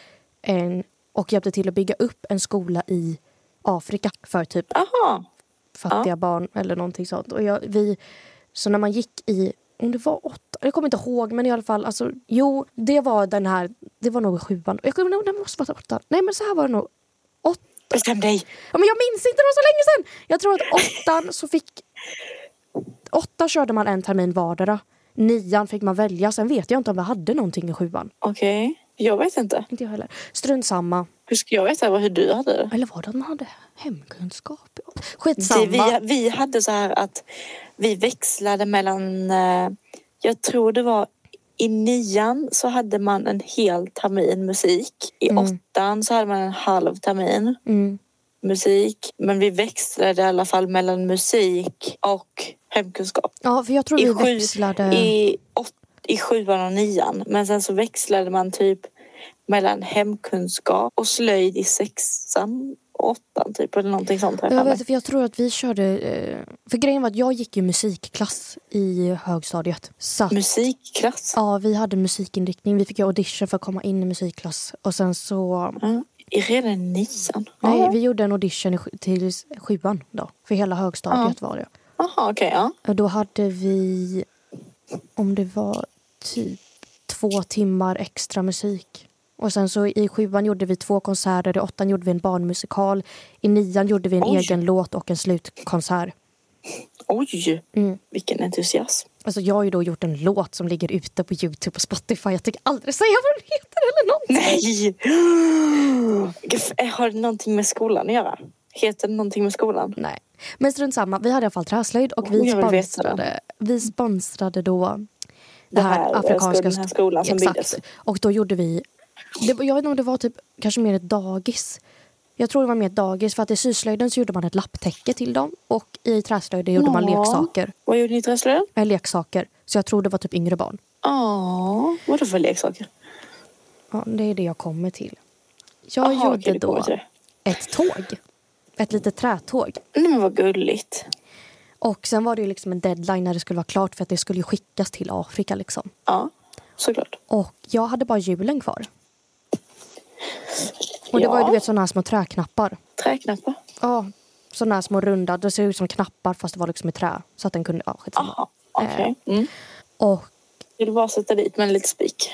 Speaker 3: en och hjälpte till att bygga upp en skola i Afrika för typ
Speaker 2: Aha.
Speaker 3: fattiga barn eller någonting sånt. Och jag, vi, så när man gick i, om det var åtta, jag kommer inte ihåg men i alla fall, alltså, jo det var den här, det var nog i sjuan, jag kommer ihåg, det måste vara åtta, nej men så här var det nog, åtta
Speaker 2: Bestäm dig.
Speaker 3: Ja, men jag minns inte, det var så länge sedan! Jag tror att åttan så fick... Åtta körde man en termin vardera. Nian fick man välja. Sen vet jag inte om vi hade någonting i sjuan.
Speaker 2: Okej. Jag vet inte.
Speaker 3: Inte jag heller. Strunt samma.
Speaker 2: Hur ska jag veta vad- hur du hade det?
Speaker 3: Eller var det att man hade hemkunskap?
Speaker 2: Det, vi,
Speaker 3: Skitsamma.
Speaker 2: vi hade så här att vi växlade mellan... Eh, jag tror det var i nian så hade man en hel termin musik. I
Speaker 3: Mm.
Speaker 2: åttan så hade man en halv termin
Speaker 3: Mm.
Speaker 2: musik. Men vi växlade i alla fall mellan musik och hemkunskap.
Speaker 3: Ja, för jag tror
Speaker 2: I
Speaker 3: vi
Speaker 2: sju-
Speaker 3: växlade.
Speaker 2: I, åt, I sjuan och nian. Men sen så växlade man typ mellan hemkunskap och slöjd i sexan och åttan typ. Eller någonting sånt. här för mig.
Speaker 3: Jag vet, alltså, för jag tror att vi körde... eh, För grejen var att jag gick ju musikklass i högstadiet. Så att
Speaker 2: Musikklass.
Speaker 3: Ja, vi hade musikinriktning. Vi fick ju audition för att komma in i musikklass. Och sen så
Speaker 2: Ja, i redan i nian?
Speaker 3: Nej,
Speaker 2: Ja.
Speaker 3: vi gjorde en audition i sj- till s- sjuan då. För hela högstadiet var det.
Speaker 2: Jaha, okej. ja.
Speaker 3: Och då hade vi, om det var typ två timmar extra musik. Och sen så i sjuan gjorde vi två konserter, i åttan gjorde vi en barnmusikal. I nian gjorde vi en
Speaker 2: Oj.
Speaker 3: egen låt och en slutkonsert.
Speaker 2: Oj,
Speaker 3: Mm.
Speaker 2: vilken entusiasm.
Speaker 3: Alltså jag har ju då gjort en låt som ligger ute på Youtube och Spotify. Jag tänker aldrig säga vad den heter eller någonting.
Speaker 2: Nej! Gud, Har det någonting med skolan att göra? Heter det någonting med skolan?
Speaker 3: Nej. Men strunt samma, vi hade i alla fall träslöjd och
Speaker 2: Jag
Speaker 3: vi
Speaker 2: vill veta det.
Speaker 3: sponsrade, vi sponsrade då det,
Speaker 2: Det här,
Speaker 3: här,
Speaker 2: eh,
Speaker 3: afrikanska...
Speaker 2: den här skolan som
Speaker 3: Exakt.
Speaker 2: byggdes.
Speaker 3: Och då gjorde vi, det, var- jag vet inte om det var typ, kanske mer ett dagis. Jag tror det var mer ett dagis för att i syslöjden så gjorde man ett lapptäcke till dem och i träslöjden gjorde man
Speaker 2: Ja.
Speaker 3: leksaker.
Speaker 2: Vad gjorde ni i träslöjden?
Speaker 3: Eller leksaker. Så jag tror det var typ yngre barn.
Speaker 2: Ja, vadå för leksaker?
Speaker 3: Ja, det är det jag kommer till. Jag
Speaker 2: Aha,
Speaker 3: gjorde
Speaker 2: okej, du kommer
Speaker 3: då
Speaker 2: till
Speaker 3: ett tåg. Ett litet trätåg.
Speaker 2: Nej, men vad gulligt.
Speaker 3: Och sen var det ju liksom en deadline när det skulle vara klart för att det skulle ju skickas till Afrika liksom.
Speaker 2: Ja, såklart.
Speaker 3: Och jag hade bara hjulen kvar. Och det
Speaker 2: Ja.
Speaker 3: var ju du vet sådana här små träknappar.
Speaker 2: Träknappar.
Speaker 3: Ja, sådana här små runda. Det ser ut som knappar fast det var liksom i trä. Så att den kunde, ja skitsamma.
Speaker 2: Jaha, okej. Mm.
Speaker 3: Och
Speaker 2: Vill bara sätta dit med en liten spik.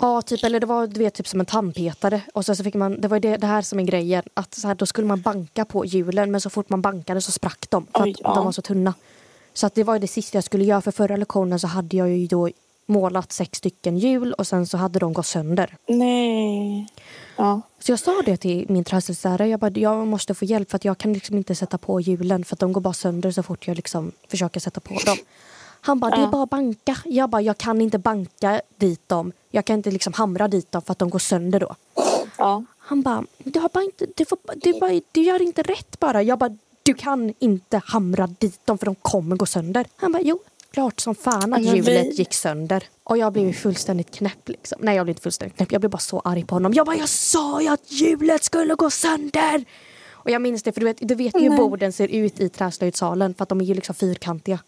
Speaker 3: Ja, typ, eller det var du vet, typ som en tandpetare. Och sen så fick man, det var ju det, det här som är grejen. Att så här, då skulle man banka på hjulen men så fort man bankade så sprack de. För
Speaker 2: Oj,
Speaker 3: att
Speaker 2: ja.
Speaker 3: de var så tunna. Så att det var ju det sista jag skulle göra. För förra lektionen så hade jag ju då målat sex stycken hjul och sen så hade de gått sönder.
Speaker 2: Nej. Ja.
Speaker 3: Så jag sa det till min träslöjdslärare. Jag bara, jag måste få hjälp för att jag kan liksom inte sätta på hjulen för att de går bara sönder så fort jag liksom försöker sätta på dem. Han bara, det är
Speaker 2: Ja.
Speaker 3: bara att banka. Jag bara, jag kan inte banka dit dem. Jag kan inte liksom hamra dit dem för att de går sönder då.
Speaker 2: ja.
Speaker 3: Han bara, du, har bara inte, du, får, du, bara, du gör inte rätt bara. Jag bara, du kan inte hamra dit dem för de kommer gå sönder. Han bara, jo, klart som fan att
Speaker 2: Men vi-
Speaker 3: hjulet gick sönder. Och jag blev ju fullständigt knäpp liksom. Nej, jag blev inte fullständigt knäpp. Jag blev bara så arg på honom. Jag bara, jag sa ju att hjulet skulle gå sönder! Och jag minns det, för du vet, du vet ju hur
Speaker 2: Nej.
Speaker 3: borden ser ut i träslöjdsalen för att de är ju liksom fyrkantiga.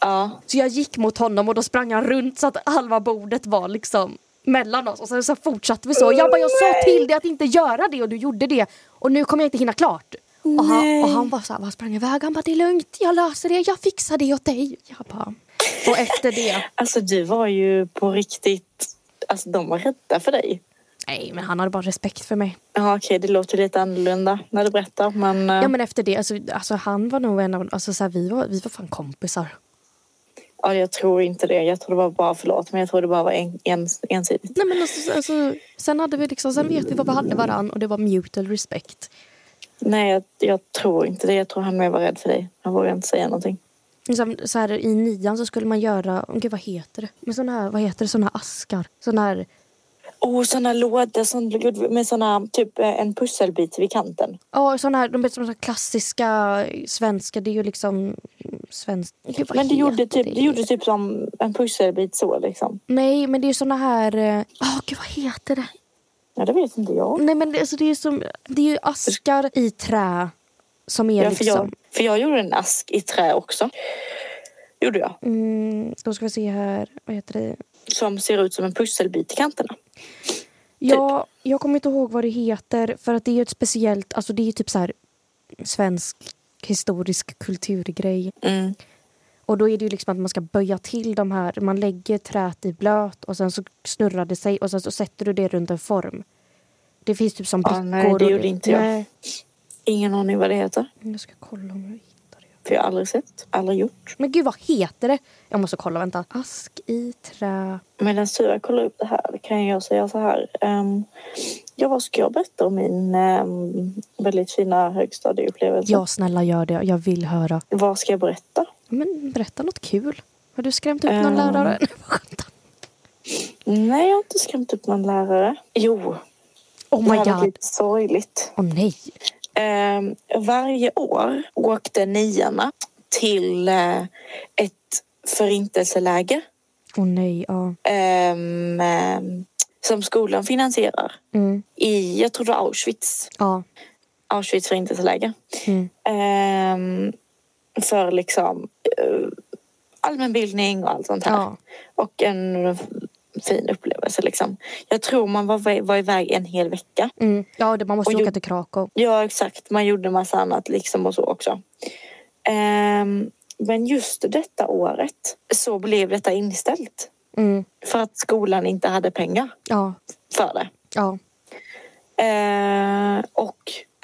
Speaker 2: ja.
Speaker 3: Så jag gick mot honom och då sprang han runt så att halva bordet var liksom mellan oss. Och sen så fortsatte vi så. Jag bara, jag sa till dig att inte göra det och du gjorde det. Och nu kommer jag inte hinna klart. Och han, och han bara så här, han sprang iväg. Han bara, det är lugnt, jag löser det, jag fixar det åt dig. Jag bara, och efter det.
Speaker 2: Alltså du var ju på riktigt alltså, de var rädda för dig.
Speaker 3: Nej, men han hade bara respekt för mig.
Speaker 2: Ja, okej, det låter lite annorlunda när du berättar. Men, eh,
Speaker 3: Ja, men efter det, alltså, alltså han var nog en av, alltså så här, vi var, vi var fan kompisar.
Speaker 2: ja, jag tror inte det. Jag tror det var bara förlåt, men jag tror det bara var en, en, ensidigt.
Speaker 3: Nej men alltså, alltså, sen hade vi liksom, sen vet vi vad vi hade varann och det var mutual respect.
Speaker 2: Nej, jag, jag tror inte det. Jag tror han mer var rädd för dig. Han vågade inte säga någonting.
Speaker 3: Liksom, så här, I nian så skulle man göra, oh, gud vad heter det? Men såna här, vad heter det, såna här askar? Såna här,
Speaker 2: Åh, oh, sådana lådor som, med såna, typ eh, en pusselbit vid kanten.
Speaker 3: ja såna här, de vet som så här klassiska eh, svenska, det är ju liksom svenskt. Gud, vad
Speaker 2: Men det gjorde,
Speaker 3: heter
Speaker 2: typ, det gjorde typ som en pusselbit så liksom.
Speaker 3: Nej men det är ju såna här, eh, åh gud vad heter det?
Speaker 2: Ja, det vet inte jag.
Speaker 3: Nej men det, alltså, det är ju som, det är ju askar i trä som är
Speaker 2: Ja, för,
Speaker 3: liksom.
Speaker 2: jag, för jag gjorde en ask i trä också. Gjorde jag.
Speaker 3: Mm, då ska vi se här, vad heter det?
Speaker 2: Som ser ut som en pusselbit i kanterna.
Speaker 3: Ja,
Speaker 2: Typ.
Speaker 3: jag kommer inte ihåg vad det heter för att det är ju ett speciellt, alltså det är ju typ så här svensk historisk kulturgrej.
Speaker 2: Mm.
Speaker 3: Och då är det ju liksom att man ska böja till de här, man lägger trät i blöt och sen så snurrar det sig och sen så sätter du det runt en form. Det finns typ som
Speaker 2: Ja,
Speaker 3: brickor.
Speaker 2: nej, det
Speaker 3: och-
Speaker 2: gjorde inte jag.
Speaker 3: Nej,
Speaker 2: Ingen aning vad det heter.
Speaker 3: jag ska kolla om jag hittar det.
Speaker 2: För jag har aldrig sett, aldrig gjort.
Speaker 3: Men gud, vad heter det? Jag måste kolla, vänta. Ask i trä.
Speaker 2: Medan Sura kollar upp det här kan jag säga så här. ehm, ja, vad ska jag berätta om min ehm, väldigt fina högstadieupplevelse?
Speaker 3: Ja, snälla gör det. Jag vill höra.
Speaker 2: Vad ska jag berätta?
Speaker 3: Men berätta något kul. Har du skrämt upp någon
Speaker 2: Ehm.
Speaker 3: lärare?
Speaker 2: Nej, jag har inte skrämt upp någon lärare. Jo,
Speaker 3: oh
Speaker 2: det
Speaker 3: my
Speaker 2: här var
Speaker 3: god.
Speaker 2: lite sorgligt.
Speaker 3: Åh nej.
Speaker 2: Ehm, varje år åkte niorna till eh, ett förintelseläger
Speaker 3: Åh nej, ja.
Speaker 2: ehm, ehm, som skolan finansierar
Speaker 3: Mm.
Speaker 2: i, jag tror det var Auschwitz,
Speaker 3: Ja.
Speaker 2: Auschwitz förintelseläger.
Speaker 3: Mm.
Speaker 2: Ehm, för liksom eh, allmänbildning och allt sånt här.
Speaker 3: Ja.
Speaker 2: Och en fin upplevelse liksom. Jag tror man var, var iväg en hel vecka.
Speaker 3: Mm. ja, det, man måste
Speaker 2: Och
Speaker 3: ju åka
Speaker 2: gjorde-
Speaker 3: till Krakow.
Speaker 2: Ja, exakt. Man gjorde massa annat liksom och så också. Ehm, men just detta året så blev detta inställt
Speaker 3: Mm.
Speaker 2: för att skolan inte hade pengar
Speaker 3: Ja.
Speaker 2: för det.
Speaker 3: Ja.
Speaker 2: Ehm, och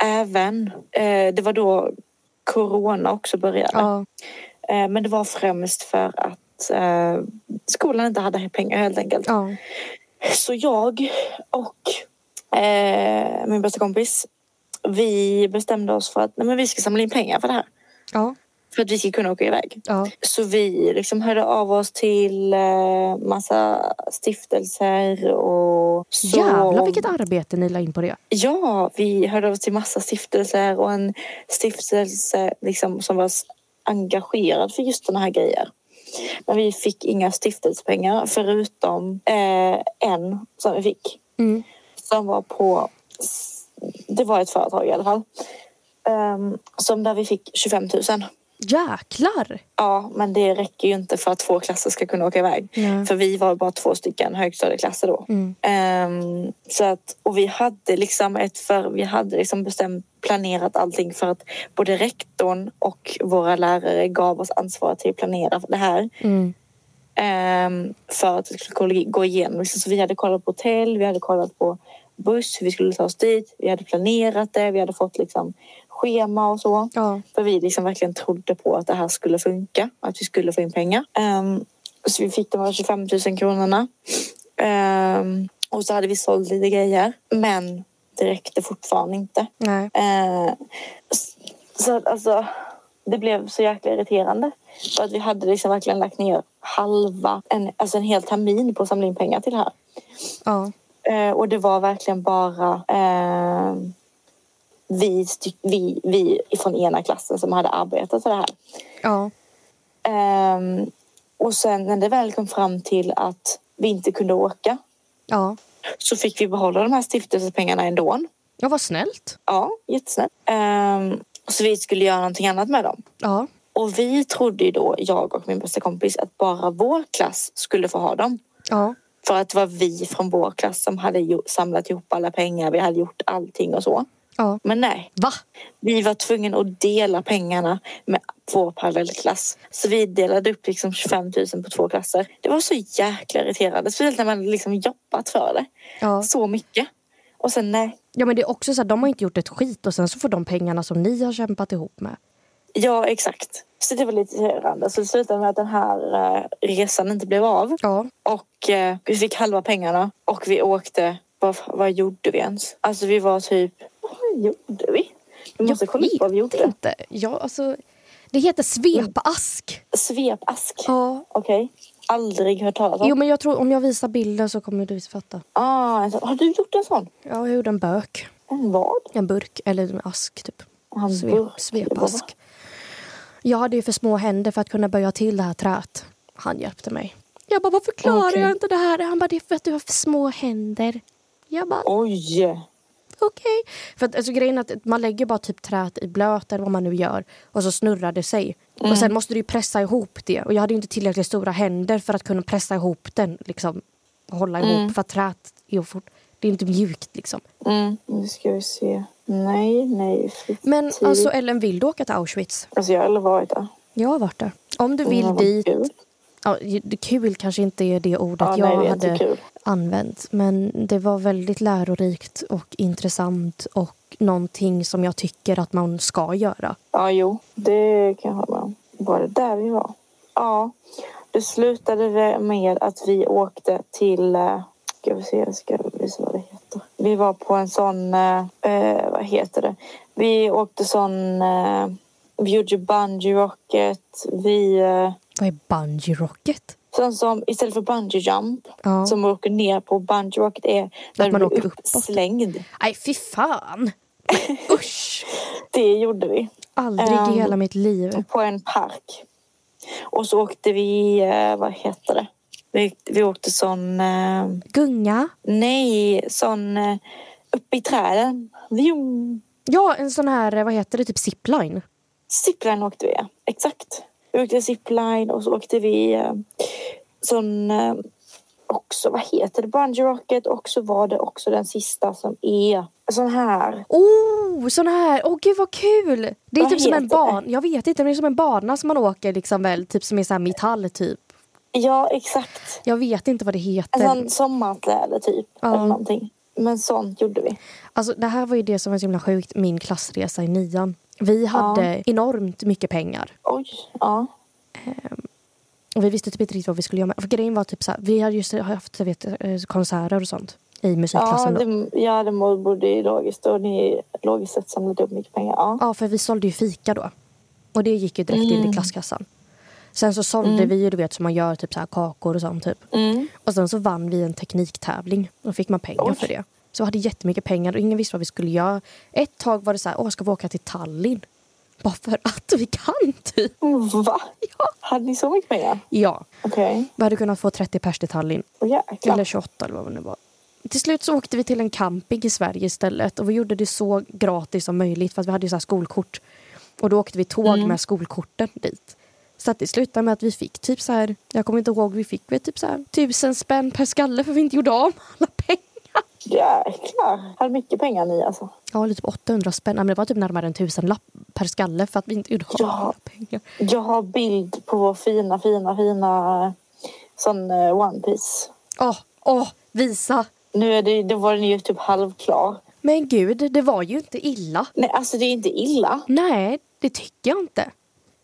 Speaker 2: även, eh, det var då corona också började.
Speaker 3: ja.
Speaker 2: Ehm, men det var främst för att eh, skolan inte hade pengar helt enkelt.
Speaker 3: ja.
Speaker 2: Så jag och eh, min bästa kompis, vi bestämde oss för att nej, men vi ska samla in pengar för det här.
Speaker 3: Ja.
Speaker 2: För att vi ska kunna åka iväg.
Speaker 3: Ja.
Speaker 2: Så vi liksom hörde av oss till eh, massa stiftelser och så.
Speaker 3: Jävlar vilket arbete ni la in på det.
Speaker 2: Ja, vi hörde av oss till massa stiftelser och en stiftelse liksom, som var s- engagerad för just sådana här grejer. Men vi fick inga stiftelsepengar förutom eh, en som vi fick
Speaker 3: Mm.
Speaker 2: som var på... Det var ett företag i alla fall. Ehm, som där vi fick 25 000.
Speaker 3: Jäklar!
Speaker 2: Ja, men det räcker ju inte för att två klasser ska kunna åka iväg.
Speaker 3: Nej.
Speaker 2: För vi var bara två stycken högstadieklasser då.
Speaker 3: Mm.
Speaker 2: Ehm, så att, och vi hade liksom ett för, vi hade liksom bestämt planerat allting för att både rektorn och våra lärare gav oss ansvar till att planera för det här.
Speaker 3: Mm.
Speaker 2: Ehm, för att vi skulle kolla- gå igenom. Liksom, Så vi hade kollat på hotell, vi hade kollat på buss, hur vi skulle ta oss dit. Vi hade planerat det, vi hade fått liksom, schema och så.
Speaker 3: Ja.
Speaker 2: För vi liksom verkligen trodde på att det här skulle funka, att vi skulle få in pengar. Ehm, så vi fick de här 25 000 kronorna. Ehm, och så hade vi sålt lite grejer. Men det räckte fortfarande inte.
Speaker 3: Nej.
Speaker 2: Eh, s- så att, alltså, det blev så jäkla irriterande. För att vi hade liksom verkligen lagt ner halva, en, alltså en hel termin på att samla in pengar till det här.
Speaker 3: Ja.
Speaker 2: Eh, och det var verkligen bara eh, vi, sty- vi, vi från ena klassen som hade arbetat för det här.
Speaker 3: Ja.
Speaker 2: Eh, och sen när det väl kom fram till att vi inte kunde åka
Speaker 3: Ja.
Speaker 2: så fick vi behålla de här stiftelsepengarna ändå.
Speaker 3: Ja, vad snällt.
Speaker 2: Ja, jättesnällt. Eh, så vi skulle göra någonting annat med dem.
Speaker 3: Ja.
Speaker 2: Och vi trodde ju då, jag och min bästa kompis, att bara vår klass skulle få ha dem.
Speaker 3: Ja.
Speaker 2: För att det var vi från vår klass som hade ju- samlat ihop alla pengar, vi hade gjort allting och så.
Speaker 3: Ja.
Speaker 2: Men nej,
Speaker 3: Va?
Speaker 2: vi var tvungna att dela pengarna med två parallellklass. Så vi delade upp liksom 25 000 på två klasser. Det var så jäkla irriterande. Speciellt när man liksom jobbat för det.
Speaker 3: Ja.
Speaker 2: Så mycket. Och sen nej.
Speaker 3: ja, men det är också så här, de har inte gjort ett skit och sen så får de pengarna som ni har kämpat ihop med.
Speaker 2: Ja, exakt. Så det var lite irriterande. Så det slutade med att den här eh, resan inte blev av.
Speaker 3: Ja,
Speaker 2: Och eh, vi fick halva pengarna och vi åkte. Vad, vad gjorde vi ens? Alltså vi var typ... Vad gjorde vi? Vi måste kolla upp vad vi
Speaker 3: vet
Speaker 2: gjorde.
Speaker 3: inte. Ja, alltså, det heter svepask.
Speaker 2: Svepask.
Speaker 3: Ja.
Speaker 2: Okej. Aldrig hört talas om.
Speaker 3: Jo, men jag tror om jag visar bilden så kommer du fatta.
Speaker 2: Ah, en sån. Har du gjort en sån?
Speaker 3: Ja, jag gjorde en bök.
Speaker 2: En vad?
Speaker 3: En burk eller en ask typ.
Speaker 2: Och han
Speaker 3: Svep,
Speaker 2: burkade bara.
Speaker 3: svepask. Jag hade ju för små händer för att kunna böja till det här träet. Han hjälpte mig. Jag bara, varför klarar
Speaker 2: Okej.
Speaker 3: jag inte det här? Han bara, det är för att du har för små händer. Jag bara,
Speaker 2: Oj!
Speaker 3: okej. För att, alltså, grejen är att man lägger bara typ träet i blöt eller vad man nu gör och så snurrar det sig.
Speaker 2: Mm.
Speaker 3: Och sen måste du ju pressa ihop det. Och jag hade ju inte tillräckligt stora händer för att kunna pressa ihop den. Liksom, och hålla ihop för att träet är ju fort. Det är inte mjukt liksom.
Speaker 2: Mm. Nu ska vi se. Nej, nej.
Speaker 3: Men
Speaker 2: Tidigt.
Speaker 3: alltså Ellen, vill du åka till Auschwitz?
Speaker 2: Alltså jag har aldrig varit där.
Speaker 3: Jag har varit där. Om du vill
Speaker 2: Ja, vad
Speaker 3: dit.
Speaker 2: kul.
Speaker 3: Ja, det- kul kanske inte är det ordet
Speaker 2: Ja, nej,
Speaker 3: jag
Speaker 2: det är inte
Speaker 3: hade
Speaker 2: kul.
Speaker 3: använt. Men det var väldigt lärorikt och intressant och någonting som jag tycker att man ska göra.
Speaker 2: Ja, jo. Det kan jag hålla med om. Var det där vi var? Ja. Det slutade det med att vi åkte till... eh, Ska vi se, jag ska visa vad det heter. Vi var på en sån... eh, Eh, vad heter det? Vi åkte sån... Eh, vi gjorde bungee rocket. Vi... Eh,
Speaker 3: Vad är bungee rocket?
Speaker 2: sån som istället för bungee jump
Speaker 3: Ja.
Speaker 2: som man åker ner på bungee rocket är där
Speaker 3: man
Speaker 2: man du
Speaker 3: åker
Speaker 2: blir
Speaker 3: uppåt.
Speaker 2: uppslängd.
Speaker 3: Nej, fy fan! Men Usch!
Speaker 2: Det gjorde vi.
Speaker 3: Aldrig
Speaker 2: Ehm.
Speaker 3: i hela mitt liv.
Speaker 2: på en park. Och så åkte vi, eh, vad heter det? Vi, vi åkte sån, eh,
Speaker 3: Gunga.
Speaker 2: nej, sån eh, uppe i träden. Vjum!
Speaker 3: Ja, en sån här, eh, vad heter det, typ zipline.
Speaker 2: Zipline åkte vi, exakt. Vi åkte zipline och så åkte vi eh, sån, eh, också, vad heter det, bungee rocket och så var det också den sista som är sån här.
Speaker 3: Oh, sån här! Åh gud vad kul! Det är
Speaker 2: Vad
Speaker 3: typ som en
Speaker 2: heter det?
Speaker 3: bana, jag vet inte, men det är som en bana som man åker liksom väl, typ som är så här metall typ.
Speaker 2: Ja, exakt. Alltså
Speaker 3: Jag vet inte vad det
Speaker 2: En
Speaker 3: heter.
Speaker 2: sån sommarkläder typ,
Speaker 3: Ja.
Speaker 2: eller någonting. Men sånt gjorde vi.
Speaker 3: Alltså, det här var ju det som var så himla sjukt, min klassresa i nian. Vi hade enormt mycket pengar.
Speaker 2: Oj, ja.
Speaker 3: Och vi visste typ inte riktigt vad vi skulle göra med. För grejen var typ så här, vi hade just haft jag vet, eh, konserter och sånt i
Speaker 2: Ja,
Speaker 3: musikklassen. då.
Speaker 2: det, ja, det må- bodde i logiskt och ni logiskt sett samlade upp mycket pengar. Ja.
Speaker 3: Ja, för vi sålde ju fika då. Och det gick ju direkt in i klasskassan. Sen så sålde vi ju, du vet, som man gör, typ så här kakor och sånt. Typ. Och sen så vann vi en tekniktävling. Då fick man pengar
Speaker 2: Oj.
Speaker 3: för det. Så vi hade jättemycket pengar och ingen visste vad vi skulle göra. Ett tag var det så här, åh, ska vi åka till Tallinn? Bara för att vi kan, typ.
Speaker 2: Mm, Va?
Speaker 3: Ja.
Speaker 2: Hade ni så mycket pengar?
Speaker 3: Ja.
Speaker 2: Okej.
Speaker 3: Vi hade kunnat få 30 pers till Tallinn.
Speaker 2: Åh, jäklar.
Speaker 3: Eller 28 eller vad det nu var. Till slut så åkte vi till en camping i Sverige istället och vi gjorde det så gratis som möjligt för att vi hade ju så här skolkort. Och då åkte vi tåg med skolkorten dit. Så att det slutade med att vi fick typ så här, jag kommer inte ihåg, vi fick väl typ så här tusen spänn per skalle för vi inte gjorde av med alla pengar.
Speaker 2: Jäklar. Hade mycket pengar ni alltså.
Speaker 3: Ja, eller typ 800 spänn, Nej, men det var typ närmare en tusenlapp per skalle för att vi inte gjorde av med
Speaker 2: Ja.
Speaker 3: alla pengar.
Speaker 2: Jag har bild på vår fina, fina, fina eh, sån eh, One Piece.
Speaker 3: Åh, åh, visa!
Speaker 2: Nu är det, då var den ju typ halvklar.
Speaker 3: Men gud, det var ju inte illa.
Speaker 2: Nej, alltså det är inte illa.
Speaker 3: Nej, det tycker jag inte.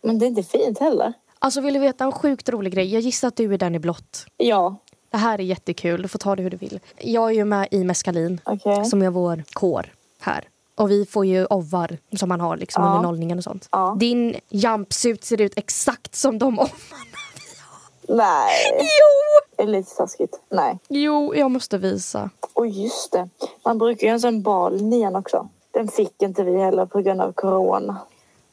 Speaker 2: Men det är inte fint heller.
Speaker 3: Alltså vill du veta en sjukt rolig grej? Jag gissar att du är den i blått.
Speaker 2: Ja,
Speaker 3: Det här är jättekul, du får ta det hur du vill. Jag är ju med i Mescalin
Speaker 2: Okej.
Speaker 3: som är vår kår här. Och vi får ju ovvar som man har liksom
Speaker 2: Ja.
Speaker 3: under nollningen och sånt.
Speaker 2: Ja.
Speaker 3: Din jumpsuit ser ut exakt som de ovvarna.
Speaker 2: nej.
Speaker 3: Jo!
Speaker 2: Det är lite taskigt. Nej.
Speaker 3: Jo, jag måste visa.
Speaker 2: Och just det, man brukar ju ha en sån bal nian också. Den fick inte vi heller på grund av corona.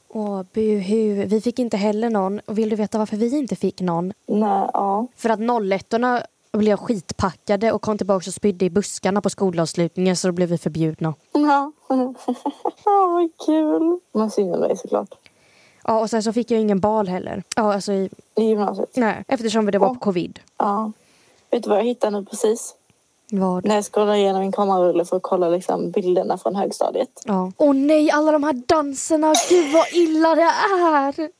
Speaker 3: Åh, buhu. Vi fick inte heller någon. Och vill du veta varför vi inte fick någon?
Speaker 2: Nej, ja.
Speaker 3: För att 01-orna blev skitpackade och kom tillbaka och spydde i buskarna på skolavslutningen så då blev vi förbjudna.
Speaker 2: Ja, vad kul. Man synd om dig såklart.
Speaker 3: Ja, och sen så fick jag ingen bal heller. Ja, alltså i,
Speaker 2: I gymnasiet.
Speaker 3: nej, eftersom det var på
Speaker 2: Åh.
Speaker 3: covid.
Speaker 2: Ja. Vet du vad jag hittade nu precis?
Speaker 3: Vad?
Speaker 2: När jag scrollade igenom min kamerarulle för att kolla liksom bilderna från högstadiet.
Speaker 3: Ja. Åh nej, alla de här danserna! Gud vad illa det är!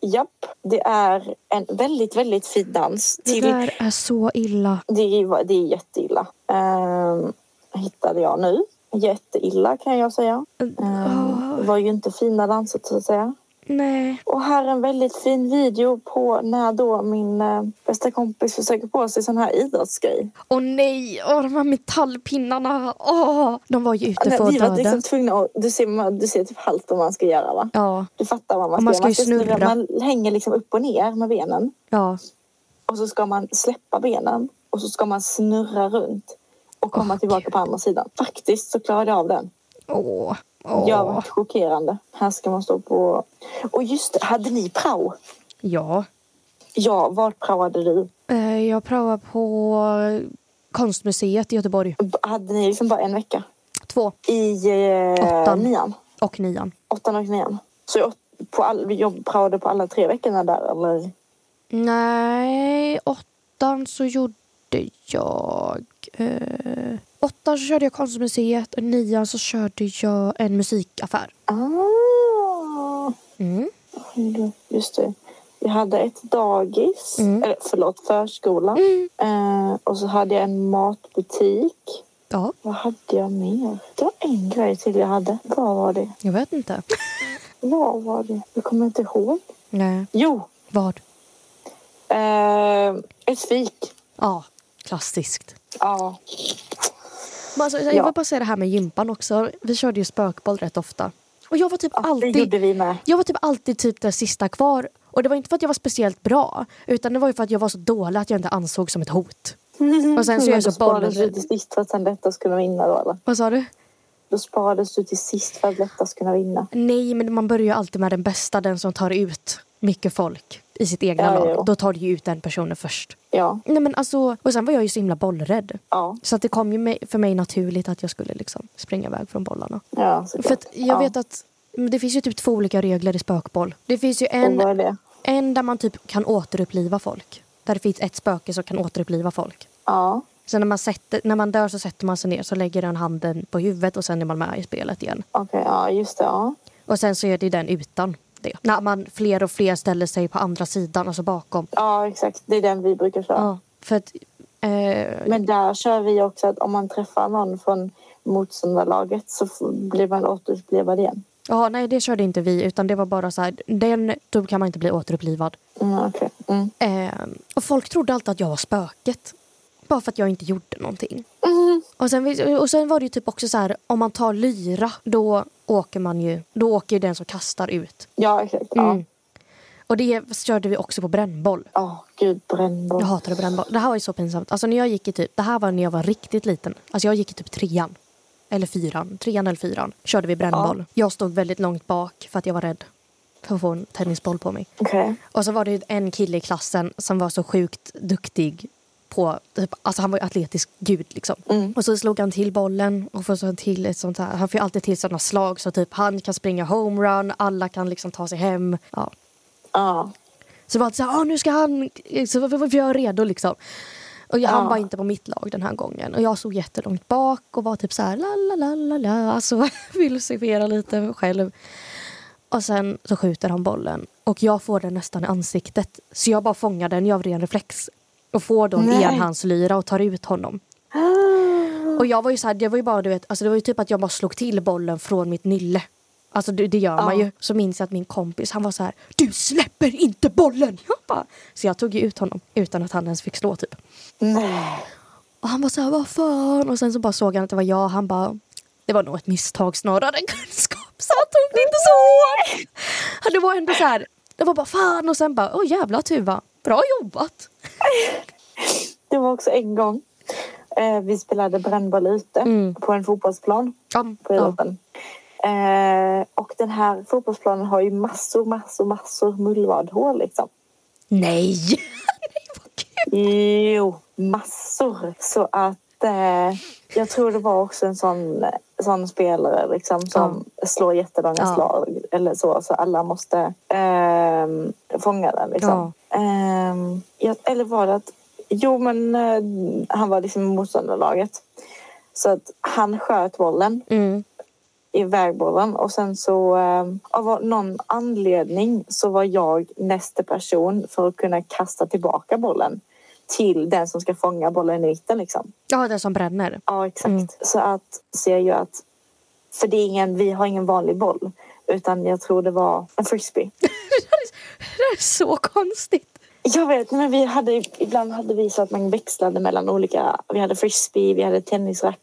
Speaker 2: Japp, det är en väldigt, väldigt fin dans.
Speaker 3: Det
Speaker 2: Till,
Speaker 3: där är så illa.
Speaker 2: det, är, det är jätteilla. Ehm, hittade jag nu. Jätteilla kan jag säga. Ehm,
Speaker 3: Åh,
Speaker 2: var ju inte fina danser så att säga.
Speaker 3: nej.
Speaker 2: Och här en väldigt fin video på när då min eh, bästa kompis försöker på sig sån här idrottsgrej.
Speaker 3: Åh nej, Åh, de här metallpinnarna. Åh, de var ju ute för
Speaker 2: Nej, vi
Speaker 3: att
Speaker 2: var
Speaker 3: döda.
Speaker 2: liksom tvungna att, du ser, man- du ser typ halvt vad man ska göra va?
Speaker 3: Ja,
Speaker 2: Du fattar vad man ska,
Speaker 3: Och man
Speaker 2: göra. Alltså,
Speaker 3: ska ju snurra.
Speaker 2: Man hänger liksom upp och ner med benen.
Speaker 3: ja.
Speaker 2: Och så ska man släppa benen och så ska man snurra runt och komma
Speaker 3: Åh,
Speaker 2: tillbaka
Speaker 3: Gud.
Speaker 2: på andra sidan. Faktiskt så klarade jag av den.
Speaker 3: Åh.
Speaker 2: Jag
Speaker 3: Åh.
Speaker 2: var chockerande. Här ska man stå på... Och just det, hade ni prao?
Speaker 3: Ja.
Speaker 2: Ja, vart praoade du?
Speaker 3: Eh, Jag prövar på Konstmuseet i Göteborg.
Speaker 2: B- Hade ni liksom bara en vecka?
Speaker 3: Två
Speaker 2: I eh,
Speaker 3: Åttan.
Speaker 2: nian?
Speaker 3: och nian.
Speaker 2: Åttan och nian. Så jag, på all, vi jobb, praoade på alla tre veckorna där eller?
Speaker 3: Nej, åttan så gjorde jag... Eh, åttan så körde jag Konstmuseet och nian så körde jag en musikaffär.
Speaker 2: Ah.
Speaker 3: Mm.
Speaker 2: Just det. Jag hade ett dagis,
Speaker 3: Mm.
Speaker 2: eller förlåt, förskola. Eh, och så hade jag en matbutik.
Speaker 3: Ja,
Speaker 2: Vad hade jag mer? Det var en grej till jag hade. Vad var det?
Speaker 3: jag vet inte.
Speaker 2: Vad var det? Jag kommer inte ihåg.
Speaker 3: Nej.
Speaker 2: Jo,
Speaker 3: Vad?
Speaker 2: eh, ett fik.
Speaker 3: Ja, klassiskt.
Speaker 2: Ja.
Speaker 3: Men alltså, jag
Speaker 2: Ja.
Speaker 3: vill bara säga det här med gympan också. Vi körde ju spökboll rätt ofta. Och jag var typ
Speaker 2: ja, Det
Speaker 3: alltid...
Speaker 2: gjorde vi med.
Speaker 3: Jag var typ alltid typ den sista kvar. Och det var inte för att jag var speciellt bra. Utan det var ju för att jag var så dålig att jag inte ansåg som ett hot. Och sen så är
Speaker 2: Men
Speaker 3: jag
Speaker 2: då
Speaker 3: så
Speaker 2: sparades du
Speaker 3: bollen...
Speaker 2: till sist för att sen lättast kunna vinna då eller?
Speaker 3: Vad sa du?
Speaker 2: Då sparades du till sist för att lättast kunna vinna.
Speaker 3: Nej, men man börjar ju alltid med den bästa. Den som tar ut mycket folk i sitt egna
Speaker 2: Ja,
Speaker 3: lag.
Speaker 2: jo.
Speaker 3: Då tar du ju ut den personen först.
Speaker 2: Ja,
Speaker 3: Nej, men alltså... Och sen var jag ju så himla bollrädd.
Speaker 2: ja,
Speaker 3: Så att det kom ju mig- för mig naturligt att jag skulle liksom springa iväg från bollarna.
Speaker 2: ja.
Speaker 3: För att jag vet att men det finns ju typ två olika regler i spökboll. Det finns ju
Speaker 2: en...
Speaker 3: en
Speaker 2: Och vad är det?
Speaker 3: En där man typ kan återuppliva folk. Där det finns ett spöke som kan återuppliva folk.
Speaker 2: Ja,
Speaker 3: Sen när man, sätter, när man dör så sätter man sig ner så lägger den handen på huvudet och sen är man med i spelet igen.
Speaker 2: okej, ja just det. Ja.
Speaker 3: Och sen så är det ju den utan det. När man fler och fler ställer sig på andra sidan, alltså bakom.
Speaker 2: Ja, exakt. Det är den vi brukar köra.
Speaker 3: Ja, för att... Eh,
Speaker 2: Men där kör vi också att om man träffar någon från motståndarlaget så f- blir man återupplivad igen.
Speaker 3: ja, nej det körde inte vi utan det var bara så här, den, då kan man inte bli återupplivad.
Speaker 2: Mm, okej. mm.
Speaker 3: Eh, och folk trodde alltid att jag var spöket. Bara för att jag inte gjorde någonting. Och, sen, vis- och sen var det ju typ också så här, om man tar lyra, då åker man ju, då åker ju den som kastar ut.
Speaker 2: Ja, exakt.
Speaker 3: Mm. Och det körde vi också på brännboll.
Speaker 2: Ja. Åh, gud, brännboll.
Speaker 3: Jag hatade brännboll. Det här var ju så pinsamt. Alltså när jag gick i typ, det här var när jag var riktigt liten. Alltså jag gick i typ trean. Eller fyran. Trean eller fyran. Körde vi brännboll. Jag stod väldigt långt bak för att jag var rädd. För att få en tennisboll på mig.
Speaker 2: Okej.
Speaker 3: Och så var det ju en kille i klassen som var så sjukt duktig på, typ, alltså han var ju atletisk gud liksom. Och så slog han till bollen och får så till ett sånt här, han får ju alltid till sådana slag så typ han kan springa homerun, alla kan liksom ta sig hem. Ja.
Speaker 2: Ja.
Speaker 3: Så det var alltid såhär, "Ah, nu ska han, så var var jag redo liksom. Och jag, han
Speaker 2: Ja.
Speaker 3: var inte på mitt lag den här gången och jag såg jättelångt bak och var typ så här la la la la la, alltså filosofera lite själv. Och sen så skjuter han bollen och jag får den nästan i ansiktet. Så jag bara fångar den, jag av ren reflex. Och får då en
Speaker 2: Nej.
Speaker 3: enhandslyra och tar ut honom. Och jag var ju så här, jag var ju bara du vet, alltså det var ju typ att jag bara slog till bollen från mitt nylle. Alltså det, det gör man ju. Så minns jag att min kompis han var så här, du släpper inte bollen! Jag bara, så jag tog ju ut honom utan att han ens fick slå typ.
Speaker 2: Nej.
Speaker 3: Och han var så här, vad fan? Och sen så bara såg han att det var jag. Han bara, det var nog ett misstag snarare än kunskap. Så han tog det inte så hårt. Och Det var ändå så här, det var bara fan. Och sen bara, åh jävla Tuva, bra jobbat.
Speaker 2: Det var också en gång eh, vi spelade brännboll ute
Speaker 3: Mm.
Speaker 2: på en fotbollsplan.
Speaker 3: Ja,
Speaker 2: på
Speaker 3: ja.
Speaker 2: idrotten. Eh, och den här fotbollsplanen har ju massor, massor, massor mullvadhål liksom.
Speaker 3: Nej! Nej, vad kul.
Speaker 2: Jo, massor. Så att eh, jag tror det var också en sån, sån spelare liksom, som slår jättelånga
Speaker 3: Ja.
Speaker 2: slag eller så. Så alla måste ehm, fånga den. Liksom. Ehm, jag, eller var det att Jo, men eh, han var liksom i motståndarlaget. Så att han sköt bollen
Speaker 3: Mm.
Speaker 2: i vägbollen och sen så eh, av någon anledning så var jag nästa person för att kunna kasta tillbaka bollen till den som ska fånga bollen i mitten liksom.
Speaker 3: Ja, den som bränner.
Speaker 2: Ja, exakt.
Speaker 3: Mm.
Speaker 2: Så att ser ju att för det är ingen, vi har ingen vanlig boll utan jag tror det var en frisbee.
Speaker 3: Det där är så konstigt.
Speaker 2: Jag vet, men vi hade ibland hade vi så att man växlade mellan olika. Vi hade frisbee, vi hade tennisrack,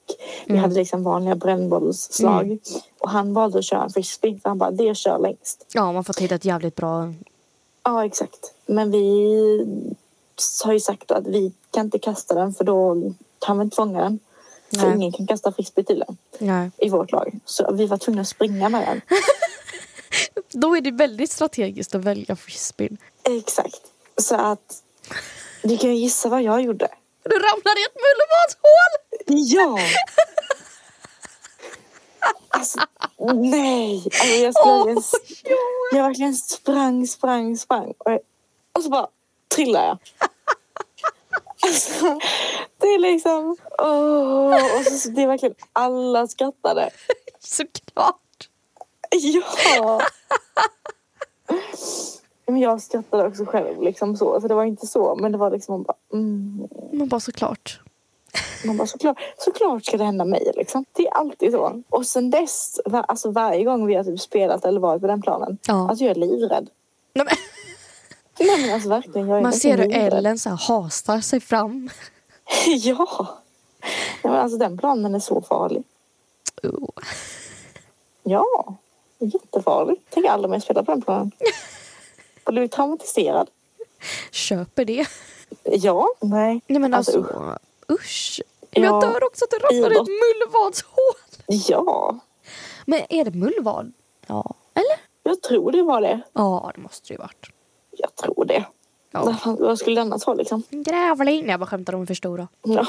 Speaker 2: vi
Speaker 3: Mm.
Speaker 2: hade liksom vanliga brännbollsslag. Och han valde att köra en frisbee för han bara, det kör längst.
Speaker 3: Ja, man får till ett jävligt bra...
Speaker 2: Ja, exakt. Men vi har ju sagt att vi kan inte kasta den för då kan vi inte fånga den. För
Speaker 3: Nej.
Speaker 2: ingen kan kasta frisbee till den
Speaker 3: Nej.
Speaker 2: i vårt lag. Så vi var tvungna att springa med den.
Speaker 3: Då är det väldigt strategiskt att välja frisbeen.
Speaker 2: Exakt. Så att du kan ju gissa vad jag gjorde.
Speaker 3: Du ramlade i ett mullematshål!
Speaker 2: Ja! Alltså, nej! Alltså, jag, skulle
Speaker 3: Åh,
Speaker 2: verkligen, jag verkligen sprang, sprang, sprang. Och, jag, och så bara trillade jag. Alltså, det är liksom... Åh, och så, så det är verkligen alla skrattade.
Speaker 3: Såklart!
Speaker 2: Ja! Men jag skrattade också själv. Liksom så. Alltså, det var inte så, men det var liksom... Man bara, mm,
Speaker 3: Man bara såklart.
Speaker 2: Man bara, såklart, såklart ska det hända mig. Liksom. Det är alltid så. Och sen dess, va- alltså varje gång vi har typ spelat eller varit på den planen,
Speaker 3: Ja.
Speaker 2: alltså jag är livrädd.
Speaker 3: Nej, men...
Speaker 2: Nej men alltså verkligen, jag är
Speaker 3: Man ser hur
Speaker 2: verkligen livrädd.
Speaker 3: Ellen så här hasar sig fram.
Speaker 2: ja. Nej, men alltså den planen är så farlig.
Speaker 3: Oh.
Speaker 2: Ja, jättefarlig. Tänk aldrig mer spela på den planen. Och du är traumatiserad.
Speaker 3: Köper det.
Speaker 2: Ja. Nej.
Speaker 3: Nej men alltså,
Speaker 2: usch.
Speaker 3: usch.
Speaker 2: Ja.
Speaker 3: Jag dör också att det ramlar i ett
Speaker 2: Idrott.
Speaker 3: mullvadshål.
Speaker 2: Ja,
Speaker 3: Men är det mullvad? Ja. Eller?
Speaker 2: jag tror det var det.
Speaker 3: Ja, det måste det ju varit.
Speaker 2: Jag tror det. Vad
Speaker 3: Ja.
Speaker 2: fan- Vad skulle det annars vara liksom?
Speaker 3: En grävling. Nej, Jag bara skämtar, de är för stora.
Speaker 2: Ja.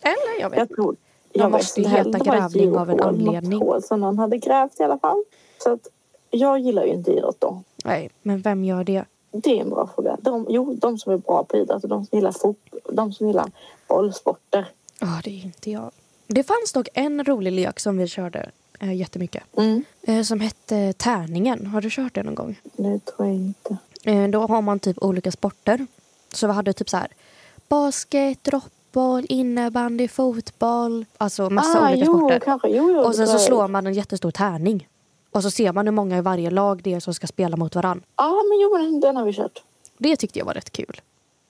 Speaker 3: Eller? Jag vet
Speaker 2: Jag
Speaker 3: inte.
Speaker 2: tror...
Speaker 3: De
Speaker 2: jag
Speaker 3: måste ju
Speaker 2: vet inte
Speaker 3: heta
Speaker 2: heller. Det var ett
Speaker 3: grävling av en
Speaker 2: djurhål, något
Speaker 3: anledning.
Speaker 2: hål som någon hade grävt i alla fall. Så att jag gillar ju inte idrott då.
Speaker 3: Nej, men vem gör det?
Speaker 2: Det är en bra fråga. De, jo, de som är bra på idrott och de som gillar fotboll, de som gillar bollsporter.
Speaker 3: Ja, det är inte jag. Det fanns dock en rolig lek som vi körde eh, jättemycket.
Speaker 2: Mm.
Speaker 3: Eh, som hette tärningen. Har du kört det någon gång?
Speaker 2: Nu tror jag inte.
Speaker 3: Eh, Då har man typ olika sporter. Så vi hade typ så här basket, droppboll, innebandy, fotboll. Alltså massa olika
Speaker 2: Ah, jo,
Speaker 3: sporter.
Speaker 2: Kanske, jo, jo,
Speaker 3: Och
Speaker 2: det
Speaker 3: sen så
Speaker 2: tror jag.
Speaker 3: slår man en jättestor tärning. Och så ser man hur många i varje lag det är som ska spela mot varann.
Speaker 2: Ja, men jo, men den, den har vi kört.
Speaker 3: Det tyckte jag var rätt kul.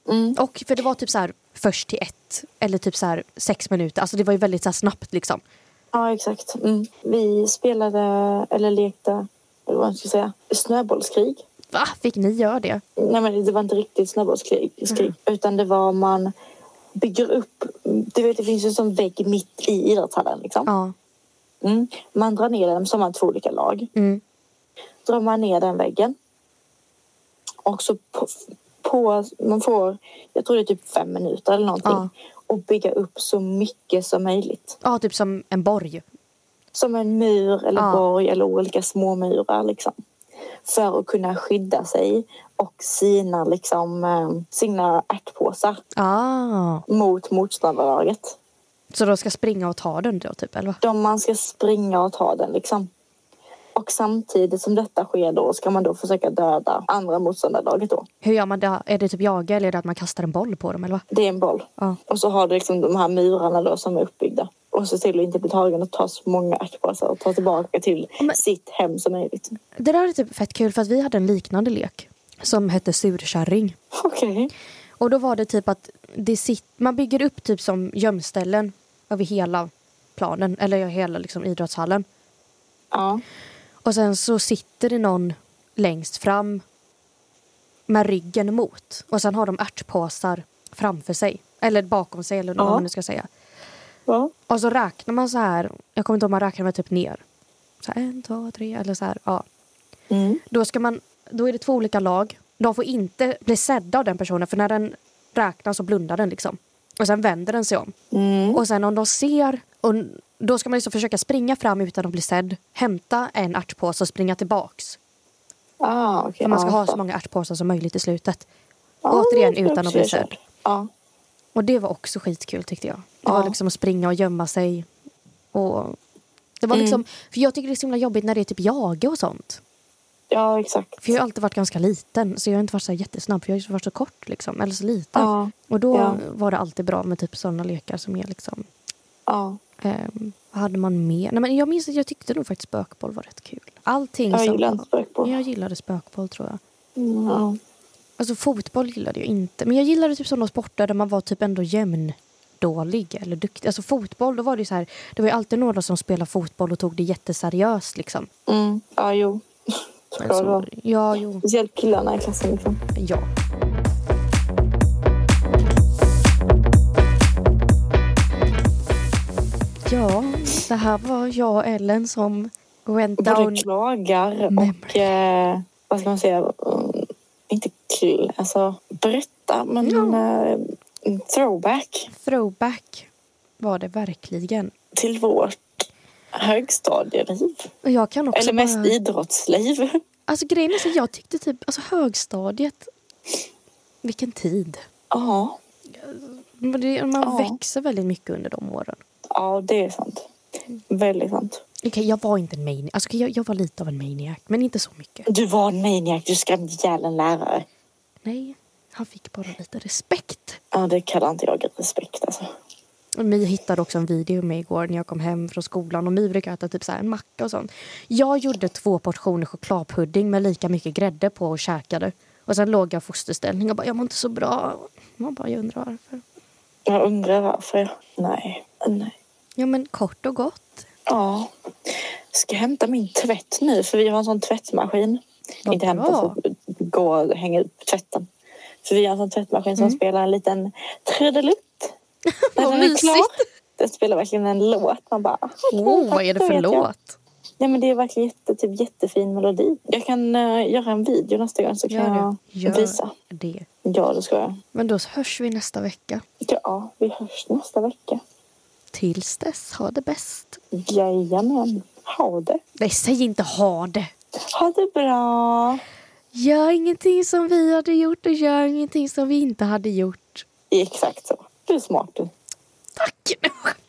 Speaker 2: Mm.
Speaker 3: Och för det var typ så här först till ett. Eller typ så här sex minuter. Alltså det var ju väldigt så här snabbt liksom.
Speaker 2: Ja, exakt. Mm. Vi spelade, eller lekte, eller vad man ska säga, snöbollskrig.
Speaker 3: Va? Fick ni göra det?
Speaker 2: Nej, men det var inte riktigt snöbollskrig.
Speaker 3: Mm.
Speaker 2: skrik, Utan det var man bygger upp... Du vet, det finns ju en sån vägg mitt i idrottshallen. Liksom.
Speaker 3: Ja.
Speaker 2: Mm. Man drar ner den, så har man två olika lag.
Speaker 3: Mm.
Speaker 2: Drar man ner den väggen. Och så på, på... Man får, jag tror det är typ fem minuter eller någonting.
Speaker 3: Ja.
Speaker 2: Och bygga upp så mycket som möjligt.
Speaker 3: ja, typ som en borg.
Speaker 2: Som en mur eller
Speaker 3: Ja.
Speaker 2: borg eller olika små murar liksom. För att kunna skydda sig och sina, liksom, eh, sina ärtpåsar.
Speaker 3: Ah.
Speaker 2: mot motståndarlaget.
Speaker 3: Så de ska springa och ta den då typ, eller? va?
Speaker 2: De man ska springa och ta den liksom. Och samtidigt som detta sker då ska man då försöka döda andra motståndarlaget då.
Speaker 3: Hur gör man det? Är det typ jaga eller är det att man kastar en boll på dem, eller? va?
Speaker 2: Det är en boll.
Speaker 3: Ja.
Speaker 2: Och så har du liksom de här murarna då som är uppbyggda. Och se till att inte bli tagen och ta så många ärtpåsar och ta tillbaka till
Speaker 3: Men-
Speaker 2: sitt hem som möjligt.
Speaker 3: Det där är typ fett kul för att vi hade en liknande lek som hette surkärring.
Speaker 2: Okej.
Speaker 3: Och då var det typ att det sit- man bygger upp typ som gömställen över hela planen, eller hela liksom idrottshallen.
Speaker 2: Ja.
Speaker 3: Och sen så sitter det någon längst fram med ryggen mot. Och sen har de ärtpåsar framför sig, eller bakom sig eller vad
Speaker 2: Ja.
Speaker 3: man nu ska säga.
Speaker 2: ja.
Speaker 3: Och så räknar man så här, jag kommer inte ihåg, man räknar med typ ner. Så här, en, två, tre eller så här, ja.
Speaker 2: Mm.
Speaker 3: Då, ska man, då är det två olika lag. De får inte bli sedda av den personen för när den räknar så blundar den liksom. Och sen vänder den sig om.
Speaker 2: Mm.
Speaker 3: Och sen om de ser, och då ska man liksom försöka springa fram utan att bli sedd. Hämta en ärtpåse och springa tillbaks.
Speaker 2: Ah, okej.
Speaker 3: För man ska
Speaker 2: Ja,
Speaker 3: ha så
Speaker 2: fattar.
Speaker 3: många ärtpåsar som möjligt i slutet.
Speaker 2: Ja,
Speaker 3: återigen
Speaker 2: det ska jag
Speaker 3: utan att
Speaker 2: också
Speaker 3: bli
Speaker 2: köra.
Speaker 3: sedd.
Speaker 2: Ja.
Speaker 3: Och det var också skitkul tyckte jag. Det
Speaker 2: Ja.
Speaker 3: var liksom att springa och gömma sig. Och det var
Speaker 2: Mm.
Speaker 3: liksom, för jag tycker det är så himla jobbigt när det är typ jaga och sånt.
Speaker 2: Ja, exakt.
Speaker 3: För jag har alltid varit ganska liten så jag har inte varit så här jättesnabb för jag har varit så kort liksom. Eller så liten.
Speaker 2: Ja,
Speaker 3: Och då
Speaker 2: Ja.
Speaker 3: var det alltid bra med typ sådana lekar som är liksom
Speaker 2: ja.
Speaker 3: Ehm, vad hade man mer? Nej, men jag minns att jag tyckte nog faktiskt spökboll var rätt kul. Allting
Speaker 2: Jag
Speaker 3: som...
Speaker 2: gillar inte spökboll.
Speaker 3: Jag gillade spökboll tror jag.
Speaker 2: Mm, ja.
Speaker 3: Alltså fotboll gillade jag inte. Men jag gillade typ sådana sporter där man var typ ändå jämn dålig eller duktig. Alltså fotboll, då var det ju så här. Det var ju alltid några som spelade fotboll och tog det jätteseriöst liksom.
Speaker 2: Mm. ja, jo. Ska
Speaker 3: Men
Speaker 2: det
Speaker 3: så,
Speaker 2: vara.
Speaker 3: ja, jo.
Speaker 2: Speciellt killarna i klassen. Liksom.
Speaker 3: Ja. Ja, det här var jag och Ellen som went down
Speaker 2: Både klagar och...
Speaker 3: Memory.
Speaker 2: Eh, vad ska man säga? Mm, inte kul. Alltså, berätta, men... Eh, throwback
Speaker 3: Throwback var det verkligen.
Speaker 2: till vårt högstadieliv.
Speaker 3: Och jag kan också
Speaker 2: Eller mest
Speaker 3: bara...
Speaker 2: idrottsliv.
Speaker 3: Alltså grejen är så jag tyckte typ, alltså högstadiet. Vilken tid.
Speaker 2: Ja,
Speaker 3: Men det, man
Speaker 2: Ja.
Speaker 3: växer väldigt mycket under de åren.
Speaker 2: ja det är sant.
Speaker 3: Mm.
Speaker 2: Väldigt sant.
Speaker 3: Okej, jag var inte en maniac. Alltså, okej, jag, jag var lite av en maniac, men inte så mycket.
Speaker 2: Du var en maniac. Du skrämde ihjäl en lärare.
Speaker 3: Nej, han fick bara lite respekt.
Speaker 2: Ja, det kallar inte jag respekt. Alltså.
Speaker 3: Och My hittade också en video med igår när jag kom hem från skolan. Och My brukar äta typ så här en macka och sånt. Jag gjorde två portioner chokladpudding med lika mycket grädde på och käkade. Och sen låg jag i fosterställning och bara, jag mår inte så bra. Man bara, jag undrar varför.
Speaker 2: Jag undrar varför. jag- Nej. Nej.
Speaker 3: Ja men kort och gott.
Speaker 2: Ja. Ska jag hämta min tvätt nu? För vi har en sån tvättmaskin.
Speaker 3: Vad
Speaker 2: Inte hämta,
Speaker 3: bra.
Speaker 2: så gå och hänga ut tvätten. För vi har en sån tvättmaskin som spelar en liten trudelutt. När
Speaker 3: Mm. Vad
Speaker 2: den är klar.
Speaker 3: mysigt.
Speaker 2: Den spelar verkligen en låt. Man bara... "Ah,
Speaker 3: Oh, vad är det
Speaker 2: Då
Speaker 3: för
Speaker 2: vet jag.
Speaker 3: låt?
Speaker 2: Nej, men det är verkligen jätte, typ, jättefin melodi. Jag kan eh, göra en video nästa gång så kan
Speaker 3: Gör det.
Speaker 2: jag
Speaker 3: Gör
Speaker 2: visa.
Speaker 3: det.
Speaker 2: Ja, det ska jag.
Speaker 3: Men då hörs vi nästa vecka.
Speaker 2: Ja, vi hörs nästa vecka.
Speaker 3: Tills dess, ha det bäst.
Speaker 2: Jajamän. Ha det.
Speaker 3: Nej, säg inte ha det.
Speaker 2: Ha det bra.
Speaker 3: Gör ingenting som vi hade gjort och gör ingenting som vi inte hade gjort.
Speaker 2: Exakt så. Du är smart du.
Speaker 3: Tack!